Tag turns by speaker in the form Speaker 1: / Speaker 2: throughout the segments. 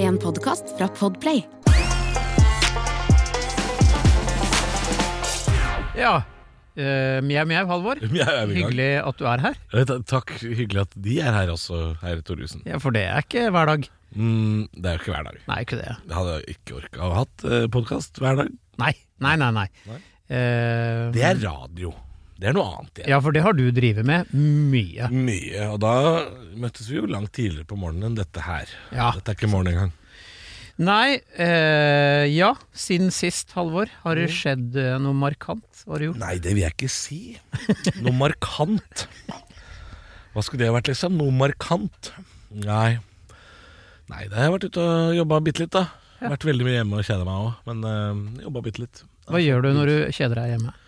Speaker 1: En podkast fra Podplay.
Speaker 2: Ja. eh, mjau, mjau, Halvor.
Speaker 3: Jeg er i gang.
Speaker 2: Hyggelig at du er her.
Speaker 3: Eh, ta- Takk, hyggelig at de er her også, herr Thoresen.
Speaker 2: Ja, For det er ikke hver dag.
Speaker 3: Mm, det er jo ikke hver dag.
Speaker 2: Nei, ikke det.
Speaker 3: Jeg hadde ikke orka å hatt eh, podkast hver dag.
Speaker 2: Nei, nei, nei. nei.
Speaker 3: Nei.
Speaker 2: Eh,
Speaker 3: Det er radio. Det er noe annet. igjen.
Speaker 2: Ja, for det har du drevet med mye.
Speaker 3: Mye. Og da møttes vi jo langt tidligere på morgenen enn dette her.
Speaker 2: Ja.
Speaker 3: Dette er ikke morgen engang.
Speaker 2: Nei, eh, ja. Siden sist, Halvor, har det skjedd eh, noe markant? Har det gjort?
Speaker 3: Nei, det vil jeg ikke si. Noe markant. Hva skulle det vært, liksom? Noe markant? Nei. Nei, det har jeg vært ute og jobba bitte litt, da. Vært veldig mye hjemme og kjeda meg òg, men uh, jobba bitte litt.
Speaker 2: Hva gjør du når du kjeder deg hjemme?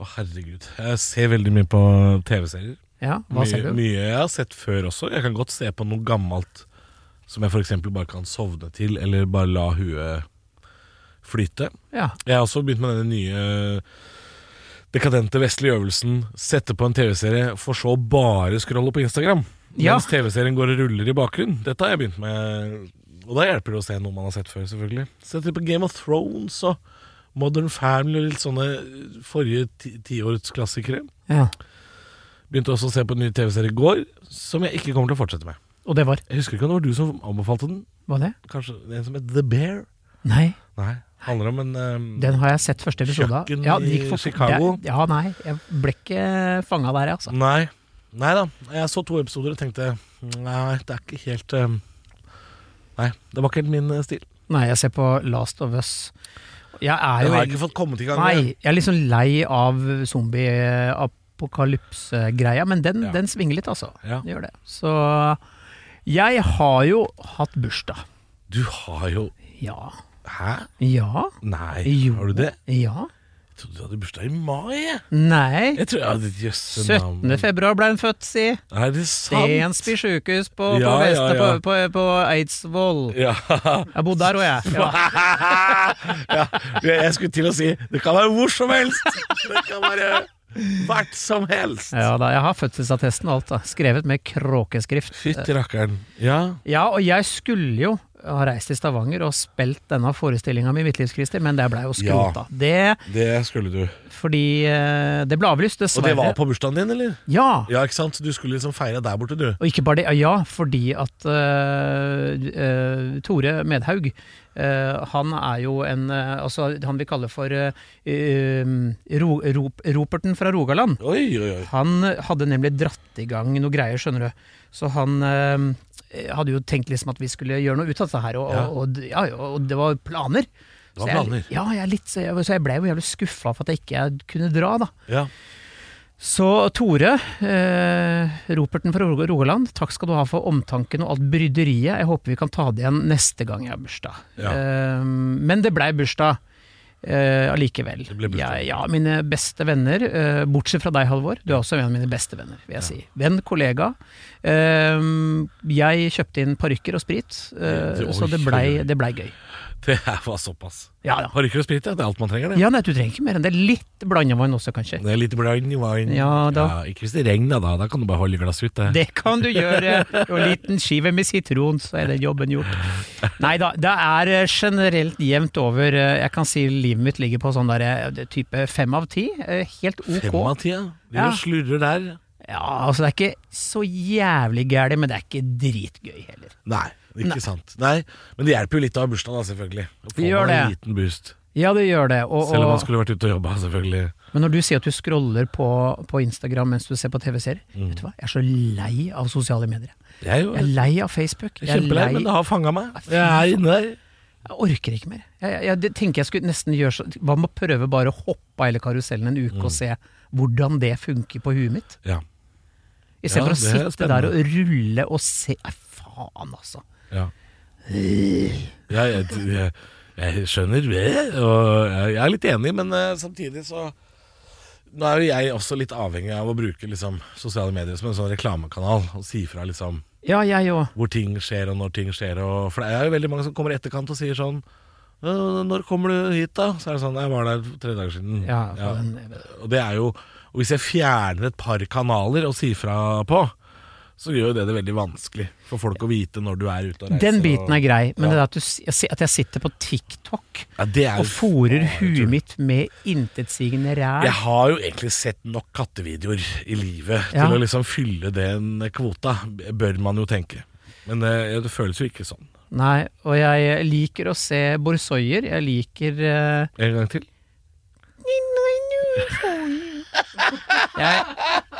Speaker 3: Å, herregud. Jeg ser veldig mye på TV-serier.
Speaker 2: Ja, hva
Speaker 3: Mye,
Speaker 2: ser du?
Speaker 3: mye jeg har sett før også. Jeg kan godt se på noe gammelt som jeg f.eks. bare kan sovne til, eller bare la huet flyte.
Speaker 2: Ja,
Speaker 3: Jeg har også begynt med denne nye dekadente vestlige øvelsen sette på en TV-serie, for så å bare scrolle på Instagram.
Speaker 2: Ja.
Speaker 3: Mens TV-serien går og ruller i bakgrunnen. Dette har jeg begynt med. Og da hjelper det å se noe man har sett før, selvfølgelig. Sette på Game of Thrones og Modern Family og litt sånne forrige ti- tiårsklassikere.
Speaker 2: ja.
Speaker 3: Begynte også å se på en ny TV-serie i går, som jeg ikke kommer til å fortsette med.
Speaker 2: Og det var
Speaker 3: Jeg husker ikke om det var du som anbefalte den.
Speaker 2: Hva det?
Speaker 3: Kanskje en som het The Bear?
Speaker 2: Nei,
Speaker 3: Nei. Handler om en ehm,
Speaker 2: den har jeg sett første episode av.
Speaker 3: Kjøkken
Speaker 2: Ja, det gikk
Speaker 3: i
Speaker 2: for-
Speaker 3: Chicago.
Speaker 2: Det- Ja, nei, jeg ble ikke fanga der, altså.
Speaker 3: Nei. Nei da. Jeg så to episoder og tenkte Nei, det er ikke helt eh, Nei, det var ikke helt min eh, stil.
Speaker 2: Nei, jeg ser på Last of Us. Jeg er
Speaker 3: Jeg
Speaker 2: jo
Speaker 3: har
Speaker 2: egentlig-
Speaker 3: ikke fått kommet i gang.
Speaker 2: Nei,
Speaker 3: med-
Speaker 2: jeg er liksom lei av zombie-apokalypse-greia, men den,
Speaker 3: Ja.
Speaker 2: den svinger litt, altså.
Speaker 3: Ja.
Speaker 2: Den Gjør det. Så jeg har jo hatt bursdag.
Speaker 3: Du har jo
Speaker 2: Ja.
Speaker 3: Hæ?
Speaker 2: Ja.
Speaker 3: Nei,
Speaker 2: Jo.
Speaker 3: har du det?
Speaker 2: Ja.
Speaker 3: Jeg trodde du hadde bursdag i mai. jeg.
Speaker 2: Nei.
Speaker 3: Jeg tror jeg hadde jøsse
Speaker 2: 17. februar ble hun født, si.
Speaker 3: Er det sant?
Speaker 2: Stensby sjukehus på, på,
Speaker 3: Ja, ja,
Speaker 2: Vest-
Speaker 3: ja.
Speaker 2: på, på, på Eidsvoll.
Speaker 3: Ja.
Speaker 2: Jeg bodde der òg, jeg. Ja.
Speaker 3: ja. Jeg skulle til å si det kan være hvor som helst. Det kan være hvert som helst.
Speaker 2: Ja, da, jeg har fødselsattesten og alt, da. Skrevet med kråkeskrift.
Speaker 3: Fytti rakkeren. Ja.
Speaker 2: Ja, og jeg skulle jo ha reist til Stavanger og spilt denne forestillinga mi, Midtlivs Christer, men det blei jo skrota. Det
Speaker 3: Det skulle du.
Speaker 2: fordi eh, Det ble avlyst,
Speaker 3: Og
Speaker 2: dessverre.
Speaker 3: det var på bursdagen din, eller?
Speaker 2: Ja.
Speaker 3: Ja, ikke sant? Du skulle liksom feire der borte, du.
Speaker 2: Og ikke bare det, ja, fordi at eh, eh, Tore Medhaug, eh, han er jo en eh, Altså, han vi kaller for eh, eh, ro, rop, Roperten fra Rogaland.
Speaker 3: Oi, oi, oi.
Speaker 2: Han eh, hadde nemlig dratt i gang noe greier, skjønner du. Så han eh, hadde jo tenkt liksom at vi skulle gjøre noe ut av dette her, og,
Speaker 3: Ja.
Speaker 2: og, og, ja, ja, og det var planer.
Speaker 3: Det var
Speaker 2: Så jeg-
Speaker 3: planer.
Speaker 2: Ja, jeg er litt, så jeg, så jeg ble jo jævlig skuffa for at jeg ikke kunne dra, da.
Speaker 3: Ja.
Speaker 2: Så Tore, eh, Roperten fra Rog- Rogaland, takk skal du ha for omtanken og alt bryderiet. Jeg håper vi kan ta det igjen neste gang jeg har bursdag.
Speaker 3: Ja.
Speaker 2: Eh, men det blei bursdag eh, allikevel.
Speaker 3: Det ble bursdag.
Speaker 2: Jeg- ja, mine beste venner, eh, bortsett fra deg, Halvor. Du er også en av mine beste venner, vil jeg si. Venn, kollega. Eh, jeg kjøpte inn parykker og sprit, eh,
Speaker 3: Det- oi,
Speaker 2: så det
Speaker 3: oi, oi.
Speaker 2: blei det blei gøy.
Speaker 3: Det her var såpass.
Speaker 2: Ja, ja.
Speaker 3: Parykker og sprit, ja. Det er alt man trenger, det.
Speaker 2: ja nei, du trenger ikke mer enn det. Litt blandevann også, kanskje.
Speaker 3: Det er litt blind wine.
Speaker 2: Ja, da.
Speaker 3: ikke hvis det regner, da. Da kan du bare holde glasset ute.
Speaker 2: Det kan du gjøre. Og en liten skive med sitron, så er den jobben gjort. Nei da, det er eh, generelt jevnt over. eh, Jeg kan si livet mitt ligger på sånn der eh, det type fem av ti. eh, Helt
Speaker 3: Fem av
Speaker 2: ok.
Speaker 3: ti, ja. De
Speaker 2: Ja.
Speaker 3: slurrer der.
Speaker 2: Ja, altså det er ikke så jævlig gærent, men det er ikke dritgøy heller.
Speaker 3: Nei, ikke
Speaker 2: Nei.
Speaker 3: sant. Nei, Men det hjelper jo litt å ha bursdag, da, selvfølgelig. Å få
Speaker 2: Det gjør
Speaker 3: meg en
Speaker 2: det.
Speaker 3: liten boost.
Speaker 2: Ja, det gjør det. Og,
Speaker 3: Selv om
Speaker 2: og,
Speaker 3: man skulle vært ute og jobba, selvfølgelig.
Speaker 2: men når du sier at du scroller på, på Instagram mens du ser på TV-serier,
Speaker 3: Mm.
Speaker 2: vet du hva, jeg er så lei av sosiale medier.
Speaker 3: Jeg er jo
Speaker 2: Jeg er lei av Facebook. Jeg er
Speaker 3: kjempelei,
Speaker 2: lei
Speaker 3: men det har fanga meg. Jeg er inne der.
Speaker 2: Jeg orker ikke mer. Jeg, jeg, jeg det tenker jeg skulle nesten gjøre så Hva med å prøve bare å hoppe av hele karusellen en uke
Speaker 3: Mm.
Speaker 2: og se hvordan det funker på huet mitt?
Speaker 3: Ja.
Speaker 2: Istedenfor
Speaker 3: det er
Speaker 2: å sitte
Speaker 3: spennende.
Speaker 2: der og rulle og se Nei, faen, altså.
Speaker 3: ja. ja jeg, jeg, jeg skjønner det, og jeg, jeg er litt enig, men eh, samtidig så Nå er jo jeg også litt avhengig av å bruke liksom, sosiale medier som en sånn reklamekanal, og si fra liksom
Speaker 2: Ja, jeg òg.
Speaker 3: hvor ting skjer og når ting skjer. Og, for det er jo veldig mange som kommer i etterkant og sier sånn «Øh, Når kommer du hit, da? Så er det sånn Jeg var der for tre dager siden.
Speaker 2: Ja,
Speaker 3: Ja.
Speaker 2: men-
Speaker 3: Og det er jo Og hvis jeg fjerner et par kanaler å si fra på, så gjør jo det det veldig vanskelig for folk å vite når du er ute og reiser.
Speaker 2: Den biten er grei, men
Speaker 3: Ja.
Speaker 2: det der at, du, si- jeg si- at jeg sitter på TikTok
Speaker 3: ja, det er jo
Speaker 2: og fòrer
Speaker 3: faen, jeg tror-
Speaker 2: huet mitt med intetsigende ræl
Speaker 3: Jeg har jo egentlig sett nok kattevideoer i livet
Speaker 2: Ja.
Speaker 3: til å liksom fylle den kvota, bør man jo tenke. Men eh, det føles jo ikke sånn.
Speaker 2: Nei, og jeg liker å se borsoier. Jeg liker eh,
Speaker 3: En gang til.
Speaker 2: Jeg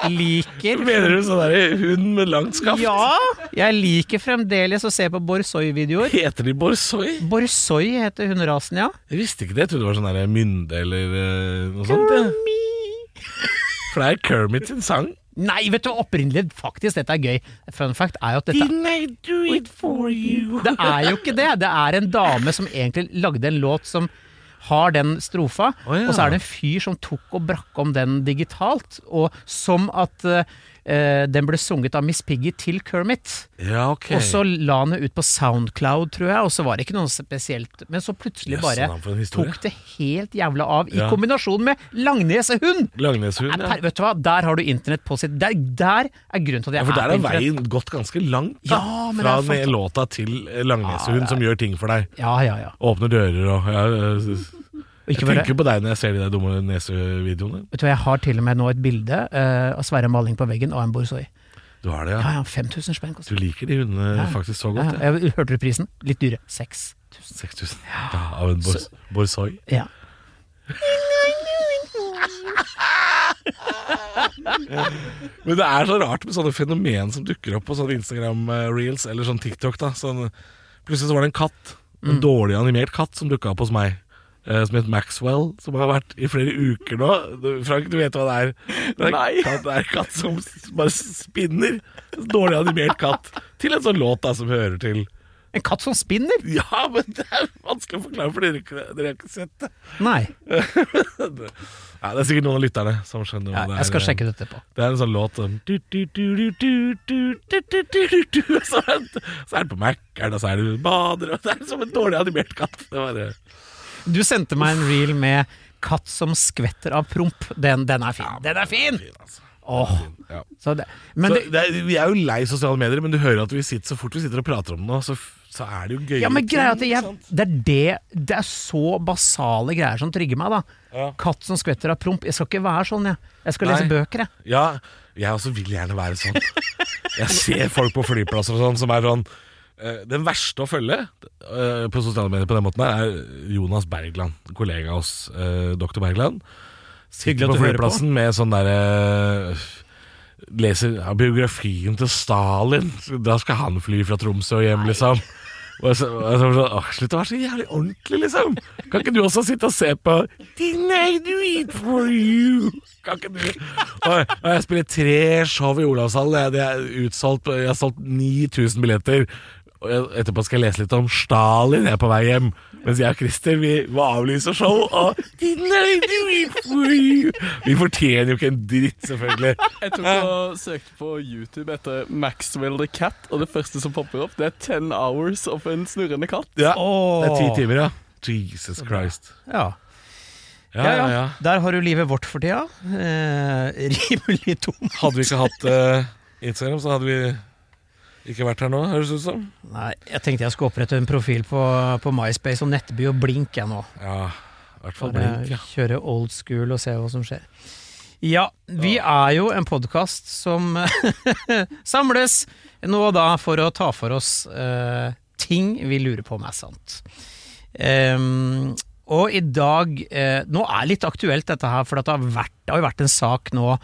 Speaker 2: liker
Speaker 3: Mener du sånn derre hund med langt skaft?
Speaker 2: Ja! Jeg liker fremdeles å se på borsoi-videoer.
Speaker 3: Heter de borsoi?
Speaker 2: Borsoi heter hunderasen, ja.
Speaker 3: Jeg visste ikke det. Jeg trodde det var sånn der mynde eller eh, noe sånt. jeg. For det er Kermit sin sang.
Speaker 2: Nei, vet du, opprinnelig faktisk, dette er gøy. Fun fact er jo at dette
Speaker 3: I do it for you?
Speaker 2: Det er jo ikke det. Det er en dame som egentlig lagde en låt som har den strofa,
Speaker 3: Å ja.
Speaker 2: og så er det en fyr som tok og brakk om den digitalt. Og som at eh, den ble sunget av Miss Piggy til Kermit.
Speaker 3: Ja, ok.
Speaker 2: Og så la han det ut på Soundcloud, tror jeg, og så var det ikke noe spesielt. Men så plutselig
Speaker 3: Jøss,
Speaker 2: bare
Speaker 3: navn for en historie.
Speaker 2: tok det helt jævla av, i
Speaker 3: Ja.
Speaker 2: kombinasjon med Langnes og hund!
Speaker 3: Langneshund,
Speaker 2: Er
Speaker 3: ja.
Speaker 2: per- Vet du hva, der har du internett på sitt Der, der er grunnen til at jeg
Speaker 3: Ja, for der
Speaker 2: på
Speaker 3: er
Speaker 2: internett.
Speaker 3: veien gått ganske langt da,
Speaker 2: Ja, men
Speaker 3: fra
Speaker 2: det er
Speaker 3: den låta til eh, Langneshund, som gjør ting for deg.
Speaker 2: Ja, ja, ja.
Speaker 3: Åpner dører og ja, jeg synes-
Speaker 2: Og ikke
Speaker 3: Jeg
Speaker 2: bare-
Speaker 3: tenker på deg når jeg ser de der dumme nesevideoene.
Speaker 2: Vet du hva, Jeg har til og med nå et bilde eh, av Sverre Maling på veggen av en borsoi.
Speaker 3: Du har det, ja.
Speaker 2: Ja, ja, 5000 spenn
Speaker 3: Du
Speaker 2: koster det.
Speaker 3: liker de hundene faktisk så
Speaker 2: Ja,
Speaker 3: godt. Ja.
Speaker 2: ja, jeg hørte du prisen? Litt dyre. 6000.
Speaker 3: 6000 ja, av en bors borsoi.
Speaker 2: Ja.
Speaker 3: Men det er så rart med sånne fenomen som dukker opp på sånne Instagram-reels eller sånn TikTok. da sånn, Plutselig så var det en katt, en dårlig animert katt, som dukka opp hos meg. eh, Som het Maxwell, som har vært i flere uker nå. Du- Frank, du vet hva det er? Det er, en Katt, det er en katt som s- bare spinner. En Dårlig animert katt. Til en sånn låt da som hører til
Speaker 2: En katt som spinner?
Speaker 3: Ja, men det er vanskelig å forklare, for dere, ikke- dere har ikke sett det.
Speaker 2: Nei.
Speaker 3: Nei, det er sikkert noen av lytterne som skjønner
Speaker 2: Ja,
Speaker 3: hva det er.
Speaker 2: jeg skal sjekke det etterpå.
Speaker 3: Det er en sånn låt som du, du, du, du, du, du, du, du, du, du, du, Så er det så er det på Mac-eren, og så er det bader og Det er som en dårlig animert katt. Det var, eh,
Speaker 2: Du sendte meg en reel med katt som skvetter av promp. Den, den er fin. Den er fin!
Speaker 3: fin, altså.
Speaker 2: Åh.
Speaker 3: Ja.
Speaker 2: Så det, men
Speaker 3: Så
Speaker 2: det,
Speaker 3: det er, vi er jo lei sosiale medier, men du hører at vi sitter så fort vi sitter og prater om det nå, så, f- så er det jo gøy.
Speaker 2: ja, men greia er at jeg, det er det Det er så basale greier som trigger meg, da.
Speaker 3: Ja.
Speaker 2: Katt som skvetter av promp. Jeg skal ikke være sånn, jeg. Jeg skal lese
Speaker 3: Nei.
Speaker 2: bøker, jeg.
Speaker 3: Ja, jeg også vil gjerne være sånn. Jeg ser folk på flyplasser og sånn som er sånn eh, Den verste å følge eh, på sosiale medier på den måten her, er Jonas Bergland, kollega av oss, eh, doktor Bergland.
Speaker 2: Hyggelig at
Speaker 3: Sitter på
Speaker 2: du hører på.
Speaker 3: flyplassen med sånn eh, derre Leser ja, biografien til Stalin. Så Da skal han fly fra Tromsø og hjem, liksom. Og jeg så, og jeg så var sånn, «Åh, Slutt å være så jævlig ordentlig, liksom! Kan ikke du også sitte og se på Deny do it for you? Kan ikke du? Og, og jeg spiller tre show i Olavshallen. jeg- Det er utsolgt. Jeg har solgt 9000 billetter. Og jeg, etterpå skal jeg lese litt om Stalin jeg er på vei hjem. Mens jeg og Christer vi må avlyse show. Og Deny do it for you! Vi fortjener jo ikke en dritt, selvfølgelig.
Speaker 1: Jeg tok og søkte på YouTube etter Maxwell the Cat, og det første som popper opp, det er 10 hours of en snurrende katt.
Speaker 3: Ja,
Speaker 2: Åh.
Speaker 3: det er ti timer, ja. Jesus Christ.
Speaker 2: Ja.
Speaker 3: Ja,
Speaker 2: Ja, ja,
Speaker 3: ja, ja.
Speaker 2: Der har du livet vårt for tida. Eh, rimelig tom.
Speaker 3: Hadde vi ikke hatt eh, Instagram, så hadde vi ikke vært her nå, høres det ut som.
Speaker 2: Nei, jeg tenkte jeg skulle opprette en profil på, på MySpace om Nettby og Blink jeg nå.
Speaker 3: Ja, i hvert fall
Speaker 2: Bare
Speaker 3: blink, ja.
Speaker 2: Kjøre old school og se hva som skjer. Ja, vi er jo en podkast som samles nå og da for å ta for oss eh, ting vi lurer på om er sant. Ehm, og i dag eh, Nå er litt aktuelt dette her, for det har, vært, det har jo vært en sak nå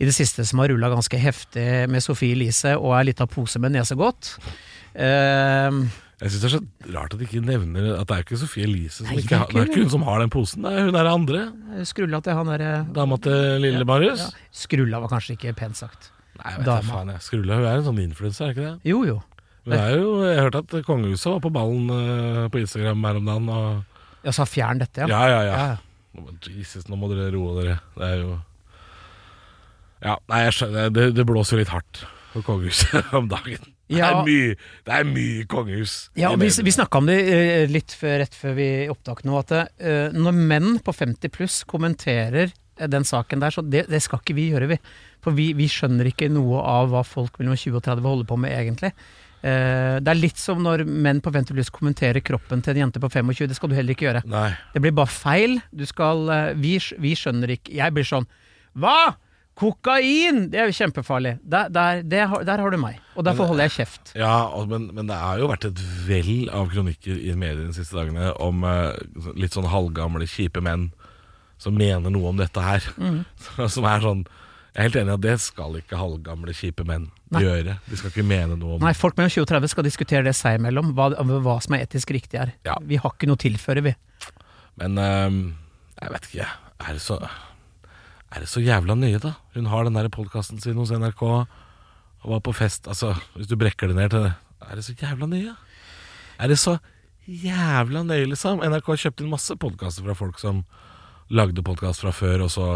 Speaker 2: i det siste som har rulla ganske heftig med Sofie Elise og er litt av pose med nesegodt. Ehm,
Speaker 3: Jeg syns det er så rart at de ikke nevner at det er jo ikke Sophie Elise som
Speaker 2: Nei, det
Speaker 3: ikke
Speaker 2: er
Speaker 3: har, Det er
Speaker 2: ikke
Speaker 3: ikke hun som har den posen, det er hun er den andre.
Speaker 2: skrulla til han derre
Speaker 3: Dama til lille Marius.
Speaker 2: ja, Skrulla var kanskje ikke pent sagt.
Speaker 3: Nei, vet
Speaker 2: Dama.
Speaker 3: du faen, jeg. Skrulla, hun er en sånn influenser, er ikke det?
Speaker 2: Jo jo.
Speaker 3: Hun er jo, Jeg hørte at kongehuset var på ballen eh, på Instagram her om dagen. Og,
Speaker 2: Ja, så fjern dette, ja.
Speaker 3: ja, ja, ja.
Speaker 2: Ja,
Speaker 3: Jesus, nå må dere roe dere. Det er jo Ja, nei, jeg skjønner. Det, det blåser jo litt hardt på kongehuset om dagen. Det,
Speaker 2: Ja.
Speaker 3: er mye, det er mye kongehus.
Speaker 2: ja
Speaker 3: i
Speaker 2: vi
Speaker 3: mediene.
Speaker 2: vi snakka om det eh, litt før, rett før vi opptak nå, at eh, når menn på 50 pluss kommenterer eh, den saken der, så det, det skal ikke vi gjøre, vi. For vi, vi skjønner ikke noe av hva folk mellom 20 og 30 holder på med, egentlig. Eh, det er litt som når menn på ventelys kommenterer kroppen til en jente på 25, det skal du heller ikke gjøre.
Speaker 3: Nei.
Speaker 2: Det blir bare feil. Du skal eh, Vi, sk- vi skjønner ikke Jeg blir sånn Hva?! Kokain! Det er jo kjempefarlig. Der, der, det, har- der har du meg. Og derfor holder jeg kjeft.
Speaker 3: Ja, og, men, men det har jo vært et vell av kronikker i mediene de siste dagene om eh, så- litt sånn halvgamle, kjipe menn som mener noe om dette her.
Speaker 2: Mm.
Speaker 3: Som er sånn Jeg er helt enig i at det skal ikke halvgamle, kjipe menn
Speaker 2: Nei.
Speaker 3: gjøre. De skal ikke mene noe om
Speaker 2: Nei, folk mellom 20 og 30 skal diskutere det seg imellom, hva, hva som er etisk riktig her.
Speaker 3: Ja.
Speaker 2: Vi har ikke noe å tilføre, vi.
Speaker 3: Men eh, jeg vet ikke. Er det så Er det så jævla nøye, da? Hun har den der podkasten sin hos NRK og var på fest. Altså, hvis du brekker det ned til det Er det så jævla nøye? Er det så jævla nøye, liksom? NRK har kjøpt inn masse podkaster fra folk som lagde podkast fra før, og så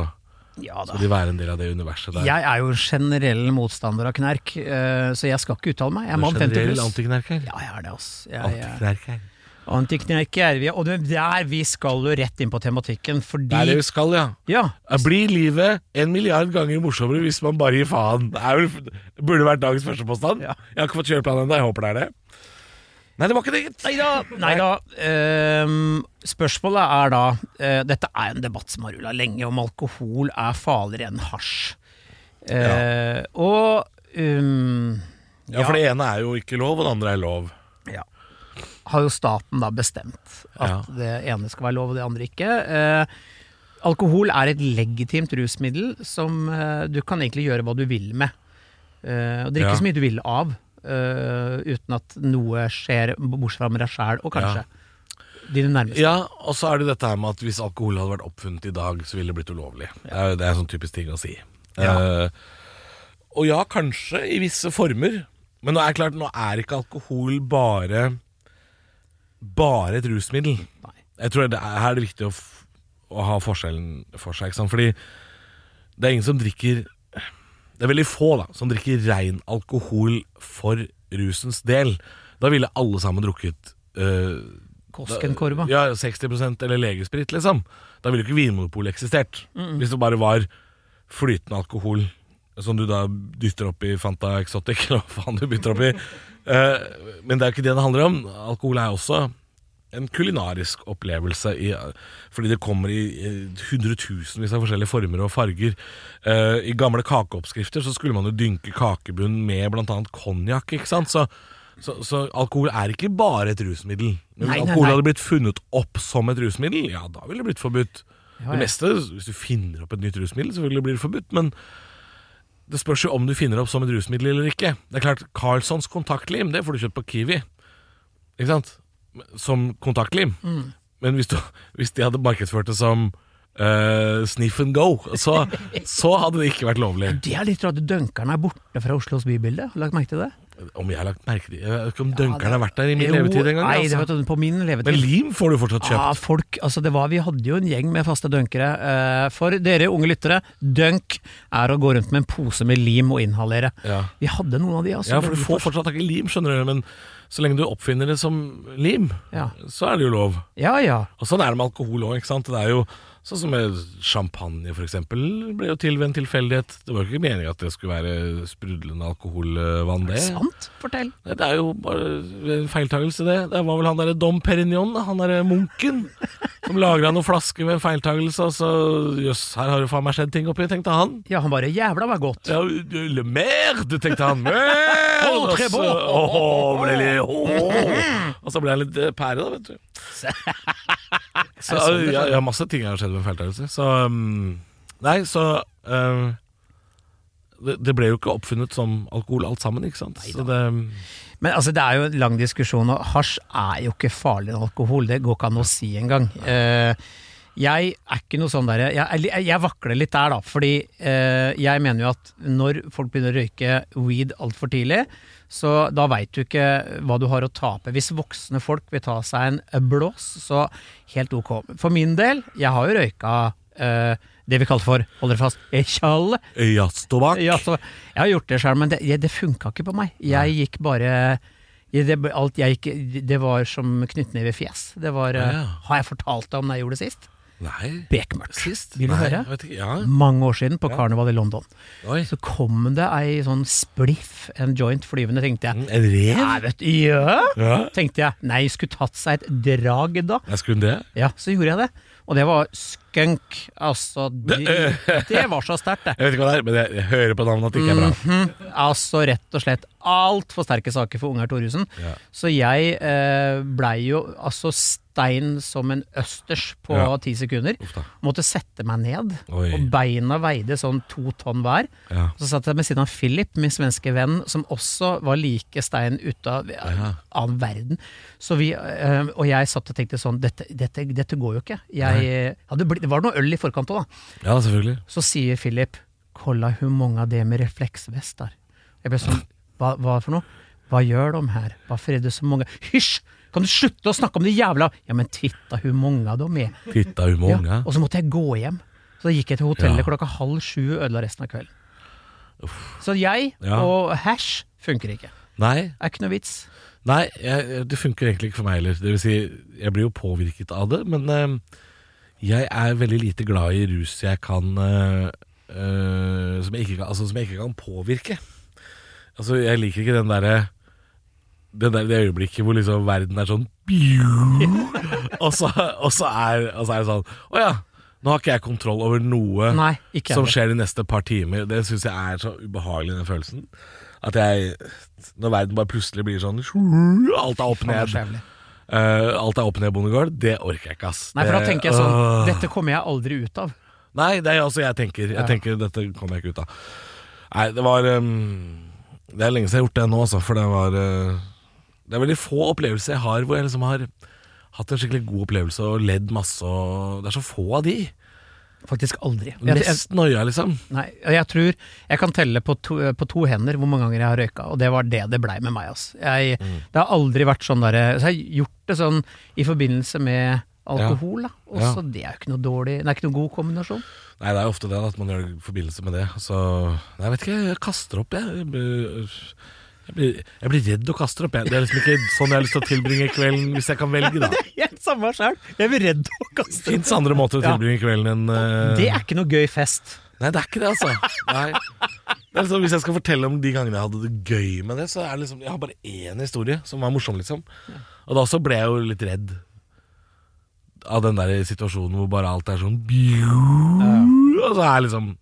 Speaker 2: Ja
Speaker 3: skal de være en del av det universet der.
Speaker 2: Jeg er jo generell motstander av knerk, eh, så jeg skal ikke uttale meg. Jeg er mann 50
Speaker 3: Generell
Speaker 2: pluss.
Speaker 3: antiknerker.
Speaker 2: Ja, jeg er det, altså. Jeg, jeg,
Speaker 3: Antiknerker.
Speaker 2: antiknerk er vi, og det er der vi skal jo rett inn på tematikken,
Speaker 3: Det er det
Speaker 2: fordi
Speaker 3: vi skal, ja.
Speaker 2: Ja,
Speaker 3: Blir livet en milliard ganger morsommere hvis man bare gir faen? Det er vel, burde vært dagens første påstand.
Speaker 2: Ja.
Speaker 3: Jeg har ikke fått kjøreplanen ennå, jeg håper det er det. Nei, det var ikke det, gitt.
Speaker 2: Nei da. Nei da. Ehm, spørsmålet er da eh, Dette er en debatt som har rulla lenge, om alkohol er farligere enn hasj. Eh, Og um,
Speaker 3: Ja, for det ene er jo ikke lov, og det andre er lov.
Speaker 2: ja. Har jo staten da bestemt at det ene skal være lov og det andre ikke. Eh, alkohol er et legitimt rusmiddel som eh, du kan egentlig gjøre hva du vil med. Eh, og drikke
Speaker 3: Ja.
Speaker 2: så mye du vil av eh, uten at noe skjer, bortsett fra med deg sjæl og kanskje dine nærmeste.
Speaker 3: Ja, og så er det jo dette her med at hvis alkohol hadde vært oppfunnet i dag, så ville det blitt ulovlig. Det er, jo- det er en sånn typisk ting å si. Eh, og ja, kanskje i visse former. Men nå er det klart, nå er ikke alkohol bare bare et rusmiddel.
Speaker 2: Nei.
Speaker 3: Jeg tror det er, her er det viktig å, f- å ha forskjellen for seg. Ikke sant? Fordi det er ingen som drikker Det er veldig få da som drikker ren alkohol for rusens del. Da ville alle sammen drukket eh,
Speaker 2: Koskenkorva.
Speaker 3: Ja, 60 eller legesprit, liksom. Da ville jo ikke Vinmonopolet eksistert. Hvis det bare var flytende alkohol som du da dytter opp i Fanta Exotic, eller hva faen du bytter opp i. Eh, men det er jo ikke det det handler om. Alkohol er også en kulinarisk opplevelse, i, fordi det kommer i i hundretusenvis av forskjellige former og farger. Eh, I gamle kakeoppskrifter så skulle man jo dynke kakebunnen med bl.a. konjakk, ikke sant? Så, så, så alkohol er ikke bare et rusmiddel. Men
Speaker 2: Nei,
Speaker 3: hvis
Speaker 2: nei,
Speaker 3: alkohol
Speaker 2: nei.
Speaker 3: hadde blitt funnet opp som et rusmiddel, ja, da ville det blitt forbudt.
Speaker 2: Ja,
Speaker 3: Det
Speaker 2: ja.
Speaker 3: meste, hvis du finner opp et nytt rusmiddel, selvfølgelig blir det forbudt, men det spørs jo om du finner opp som et rusmiddel eller ikke. Det er klart, Carlsons kontaktlim, det får du kjøpt på Kiwi, ikke sant? Som kontaktlim.
Speaker 2: Mm.
Speaker 3: Men hvis, du, hvis de hadde markedsført det som eh, sniff and go, så, så hadde det ikke vært lovlig.
Speaker 2: Det er litt rart. Dunkerne er borte fra Oslos bybilde. Har du lagt merke til det?
Speaker 3: Om jeg har lagt merke til Jeg vet ikke om
Speaker 2: Ja,
Speaker 3: dunkeren har
Speaker 2: det-
Speaker 3: vært der i min
Speaker 2: Jo,
Speaker 3: levetid engang.
Speaker 2: Nei, det
Speaker 3: Altså.
Speaker 2: vet du, på min
Speaker 3: Men
Speaker 2: levetid.
Speaker 3: lim får du fortsatt kjøpt.
Speaker 2: Ah, folk, altså det var, vi hadde jo en gjeng med faste dunkere. Eh, for dere unge lyttere, dunk er å gå rundt med en pose med lim og inhalere.
Speaker 3: Ja.
Speaker 2: Vi hadde noen av de, altså.
Speaker 3: Ja, for du får fortsatt ikke lim, skjønner du, men så lenge du oppfinner det som lim,
Speaker 2: Ja.
Speaker 3: så er det jo lov.
Speaker 2: Ja, ja.
Speaker 3: Og sånn er det med alkohol òg, ikke sant. Det er jo sånn som med champagne, for eksempel, ble jo til ved en tilfeldighet. Det var jo ikke meningen at det skulle være sprudlende alkoholvann, det.
Speaker 2: Sant? Fortell.
Speaker 3: Nei, Det er jo bare en feiltagelse, det. Det var vel han derre Dom Perignon, da, han derre munken, som lagra noen flasker ved en feiltagelse, og så jøss, her har det faen meg skjedd ting oppi, tenkte han.
Speaker 2: Ja, han bare jævla var godt.
Speaker 3: Ja, le merde, tenkte han. Merde!
Speaker 2: Oh, très bon.
Speaker 3: Og så- Åh, ble litt- åh. Og så ble han litt eh, pære, da, vet du. Så
Speaker 2: sånn det
Speaker 3: ja, ja, masse ting har skjedd med en feiltagelse. Så um, Nei, så um, det, det ble jo ikke oppfunnet som alkohol alt sammen, ikke sant? Så det, um,
Speaker 2: Men altså, det er jo en lang diskusjon, og hasj er jo ikke farlig enn alkohol. Det går ikke an å si engang. Eh, jeg er ikke noe sånn der Jeg, jeg, jeg vakler litt der, da. Fordi eh, jeg mener jo at når folk begynner å røyke weed altfor tidlig, så da veit du ikke hva du har å tape. Hvis voksne folk vil ta seg en blås, så helt ok. For min del, jeg har jo røyka eh, det vi kaller for, hold dere fast, tjall.
Speaker 3: Jazztobakk.
Speaker 2: Ja, så, jeg har gjort det sjøl, men det, jeg- det funka ikke på meg. Jeg gikk bare jeg- det, alt jeg gikk, det var som knyttnevefjes. Det var eh,
Speaker 3: Ah, Ja.
Speaker 2: Har jeg fortalt deg om det jeg gjorde sist?
Speaker 3: Nei.
Speaker 2: bekmørkt.
Speaker 3: Sist?
Speaker 2: Vil du
Speaker 3: Nei,
Speaker 2: høre?
Speaker 3: jeg vet ikke. Ja.
Speaker 2: Mange år siden, på karneval i London.
Speaker 3: Oi.
Speaker 2: Så kom det ei sånn spliff, en joint flyvende, tenkte jeg.
Speaker 3: Mm, En rev?
Speaker 2: Nei, vet du, ja,
Speaker 3: Ja.
Speaker 2: tenkte jeg. Nei, skulle tatt seg et drag da.
Speaker 3: Jeg skulle det.
Speaker 2: Ja, så gjorde jeg det. Og det var skunk. Altså, det, det var så sterkt, det.
Speaker 3: Jeg vet ikke hva det er, men jeg, jeg hører på navnet at det ikke er bra.
Speaker 2: Mhm. Altså rett og slett altfor sterke saker for Ungar Thoresen.
Speaker 3: Ja.
Speaker 2: Så jeg eh, blei jo altså stein som en østers på
Speaker 3: Ja.
Speaker 2: ti sekunder.
Speaker 3: Uff da.
Speaker 2: Måtte sette meg ned,
Speaker 3: Oi.
Speaker 2: og beina veide sånn to tonn hver.
Speaker 3: Ja.
Speaker 2: Så satt jeg ved siden av Philip, min svenske venn, som også var like stein ute av
Speaker 3: Ja.
Speaker 2: annen verden. Så vi, eh, og jeg satt og tenkte sånn, dette, dette, dette går jo ikke. Jeg, ja, det, ble, det var noe øl i forkant òg, da.
Speaker 3: ja, selvfølgelig.
Speaker 2: Så sier Philip Kolla hvor mange av det med refleksvest der Jeg ble sånn hva, hva for noe? Hva gjør de her? Hvorfor er det så mange Hysj! Kan du slutte å snakke om det jævla Ja, men titta hvor mange de er
Speaker 3: Titta hun med
Speaker 2: ja,
Speaker 3: unga.
Speaker 2: Og så måtte jeg gå hjem Så da gikk jeg til hotellet
Speaker 3: Ja.
Speaker 2: klokka halv sju og Ødela resten av kvelden Så jeg
Speaker 3: Ja.
Speaker 2: og hash funker ikke
Speaker 3: Nei,
Speaker 2: Er ikke noe vits
Speaker 3: Nei, jeg, det funker egentlig ikke for meg heller. Det vil si, jeg blir jo påvirket av det, men eh, jeg er veldig lite glad i rus jeg kan eh, eh, som, jeg ikke kan altså, som jeg ikke kan påvirke. Altså, jeg liker ikke den derre den der, det øyeblikket hvor liksom verden er sånn og så, og, så er, og så er det sånn Å ja, nå har ikke jeg kontroll over noe
Speaker 2: Nei, ikke jeg
Speaker 3: som
Speaker 2: heller.
Speaker 3: skjer de neste par timer. Det syns jeg er så ubehagelig, den følelsen. At jeg Når verden bare plutselig blir sånn Alt er opp
Speaker 2: Faen, det er
Speaker 3: ned.
Speaker 2: så jævlig.
Speaker 3: eh, alt er opp ned, Bondegård. Det orker jeg ikke, ass.
Speaker 2: Nei, for da
Speaker 3: Det-
Speaker 2: tenker jeg sånn
Speaker 3: Eh, Åh.
Speaker 2: Dette kommer jeg aldri ut av
Speaker 3: Nei, det er altså jeg tenker. Jeg tenker Dette kommer jeg ikke ut av. Nei, det var ehm, Det er lenge siden jeg har gjort det nå, altså. For det var eh, Det er veldig få opplevelser jeg har hvor jeg liksom har hatt en skikkelig god opplevelse og ledd masse og Det er så få av de.
Speaker 2: Faktisk aldri Jeg- jeg-
Speaker 3: Mest noia, liksom.
Speaker 2: Nei, og jeg tror jeg kan telle på to, på to hender hvor mange ganger jeg har røyka, og det var det det blei med meg. Altså. Jeg,
Speaker 3: Mm.
Speaker 2: Det har aldri vært sånn derre Så jeg har gjort det sånn i forbindelse med alkohol, da. Og
Speaker 3: Ja.
Speaker 2: så det er jo ikke noe dårlig Det er ikke noe god kombinasjon.
Speaker 3: Nei, det er jo ofte det da, at man gjør det i forbindelse med det. Så Nei, jeg vet ikke, jeg kaster opp, jeg. Jeg blir, jeg blir, jeg blir redd og kaster opp. Jeg. Det er liksom ikke sånn jeg har lyst til å tilbringe kvelden, hvis jeg kan velge, da.
Speaker 2: Jeg, samme sjøl, jeg blir redd å kaste
Speaker 3: Fins andre måter å
Speaker 2: Ja.
Speaker 3: tilbringe kvelden enn eh,
Speaker 2: Det er ikke noe gøy fest.
Speaker 3: Nei, det er ikke det, altså. Nei. Det er liksom, hvis jeg skal fortelle om de gangene jeg hadde det gøy med det, så er det liksom Jeg har bare én historie som var morsom, liksom. Og da også ble jeg jo litt redd av den der situasjonen hvor bare alt er sånn Og så er liksom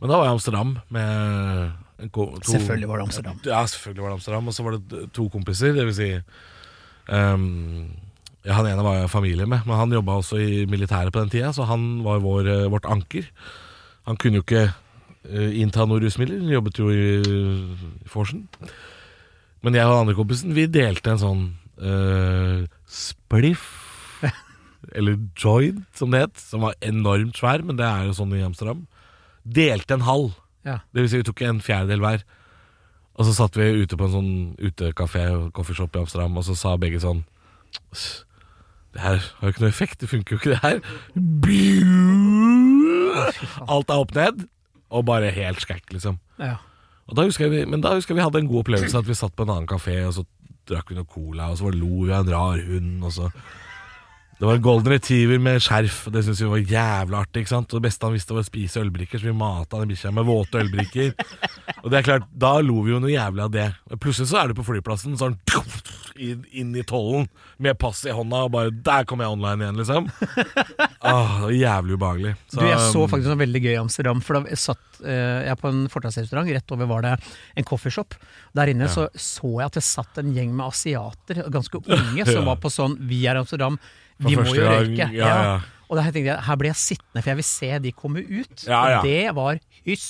Speaker 3: Men da var jeg i Amsterdam med en ko- to,
Speaker 2: Selvfølgelig var det Amsterdam.
Speaker 3: Ja, selvfølgelig var det Amsterdam. Og så var det to kompiser, det vil si ehm, ja, Han ene var jeg i familie med, men han jobba også i militæret på den tida, så han var vår, eh, vårt anker. Han kunne jo ikke eh, innta noen rusmidler, han jobbet jo i, i Forsen. Men jeg og den andre kompisen, vi delte en sånn eh, spliff, eller joint som det het, som var enormt svær, men det er jo sånn i Amsterdam. Delte en halv.
Speaker 2: Ja.
Speaker 3: Det vil si, vi tok en fjerdedel hver. Og så satt vi ute på en sånn utekafé og coffeeshop i Amsterdam, og så sa begge sånn Det her har jo ikke noe effekt, det funker jo ikke, det her. Bju! Alt er opp ned, og bare helt skækk, liksom.
Speaker 2: Ja.
Speaker 3: Og da husker jeg vi, men da husker jeg vi hadde en god opplevelse at vi satt på en annen kafé, og så drakk vi noe cola, og så var lo vi av en rar hund, og så Det var en golden retriever med skjerf, og det syntes vi var jævla artig, ikke sant. Og det beste han visste var å spise ølbrikker, så vi mata den bikkja med våte ølbrikker. Og det er klart, da lo vi jo noe jævlig av det. Men Plutselig så er du på flyplassen, sånn inn, inn i tollen med pass i hånda, og bare Der kom jeg online igjen, liksom. Åh, det var jævlig ubehagelig.
Speaker 2: Du, jeg så
Speaker 3: um,
Speaker 2: faktisk noe veldig gøy i Amsterdam. For da satt eh, jeg på en fortausrestaurant, rett over var det en coffeeshop. Der inne så så jeg at det satt en gjeng med asiater, ganske unge, som
Speaker 3: Ja.
Speaker 2: var på sånn 'vi er Amsterdam,
Speaker 3: For
Speaker 2: vi må
Speaker 3: første
Speaker 2: jo
Speaker 3: gang,
Speaker 2: røyke'.
Speaker 3: ja, ja.
Speaker 2: Og der tenkte jeg, her ble jeg sittende, for jeg vil se de komme ut.
Speaker 3: Ja, ja.
Speaker 2: Og det var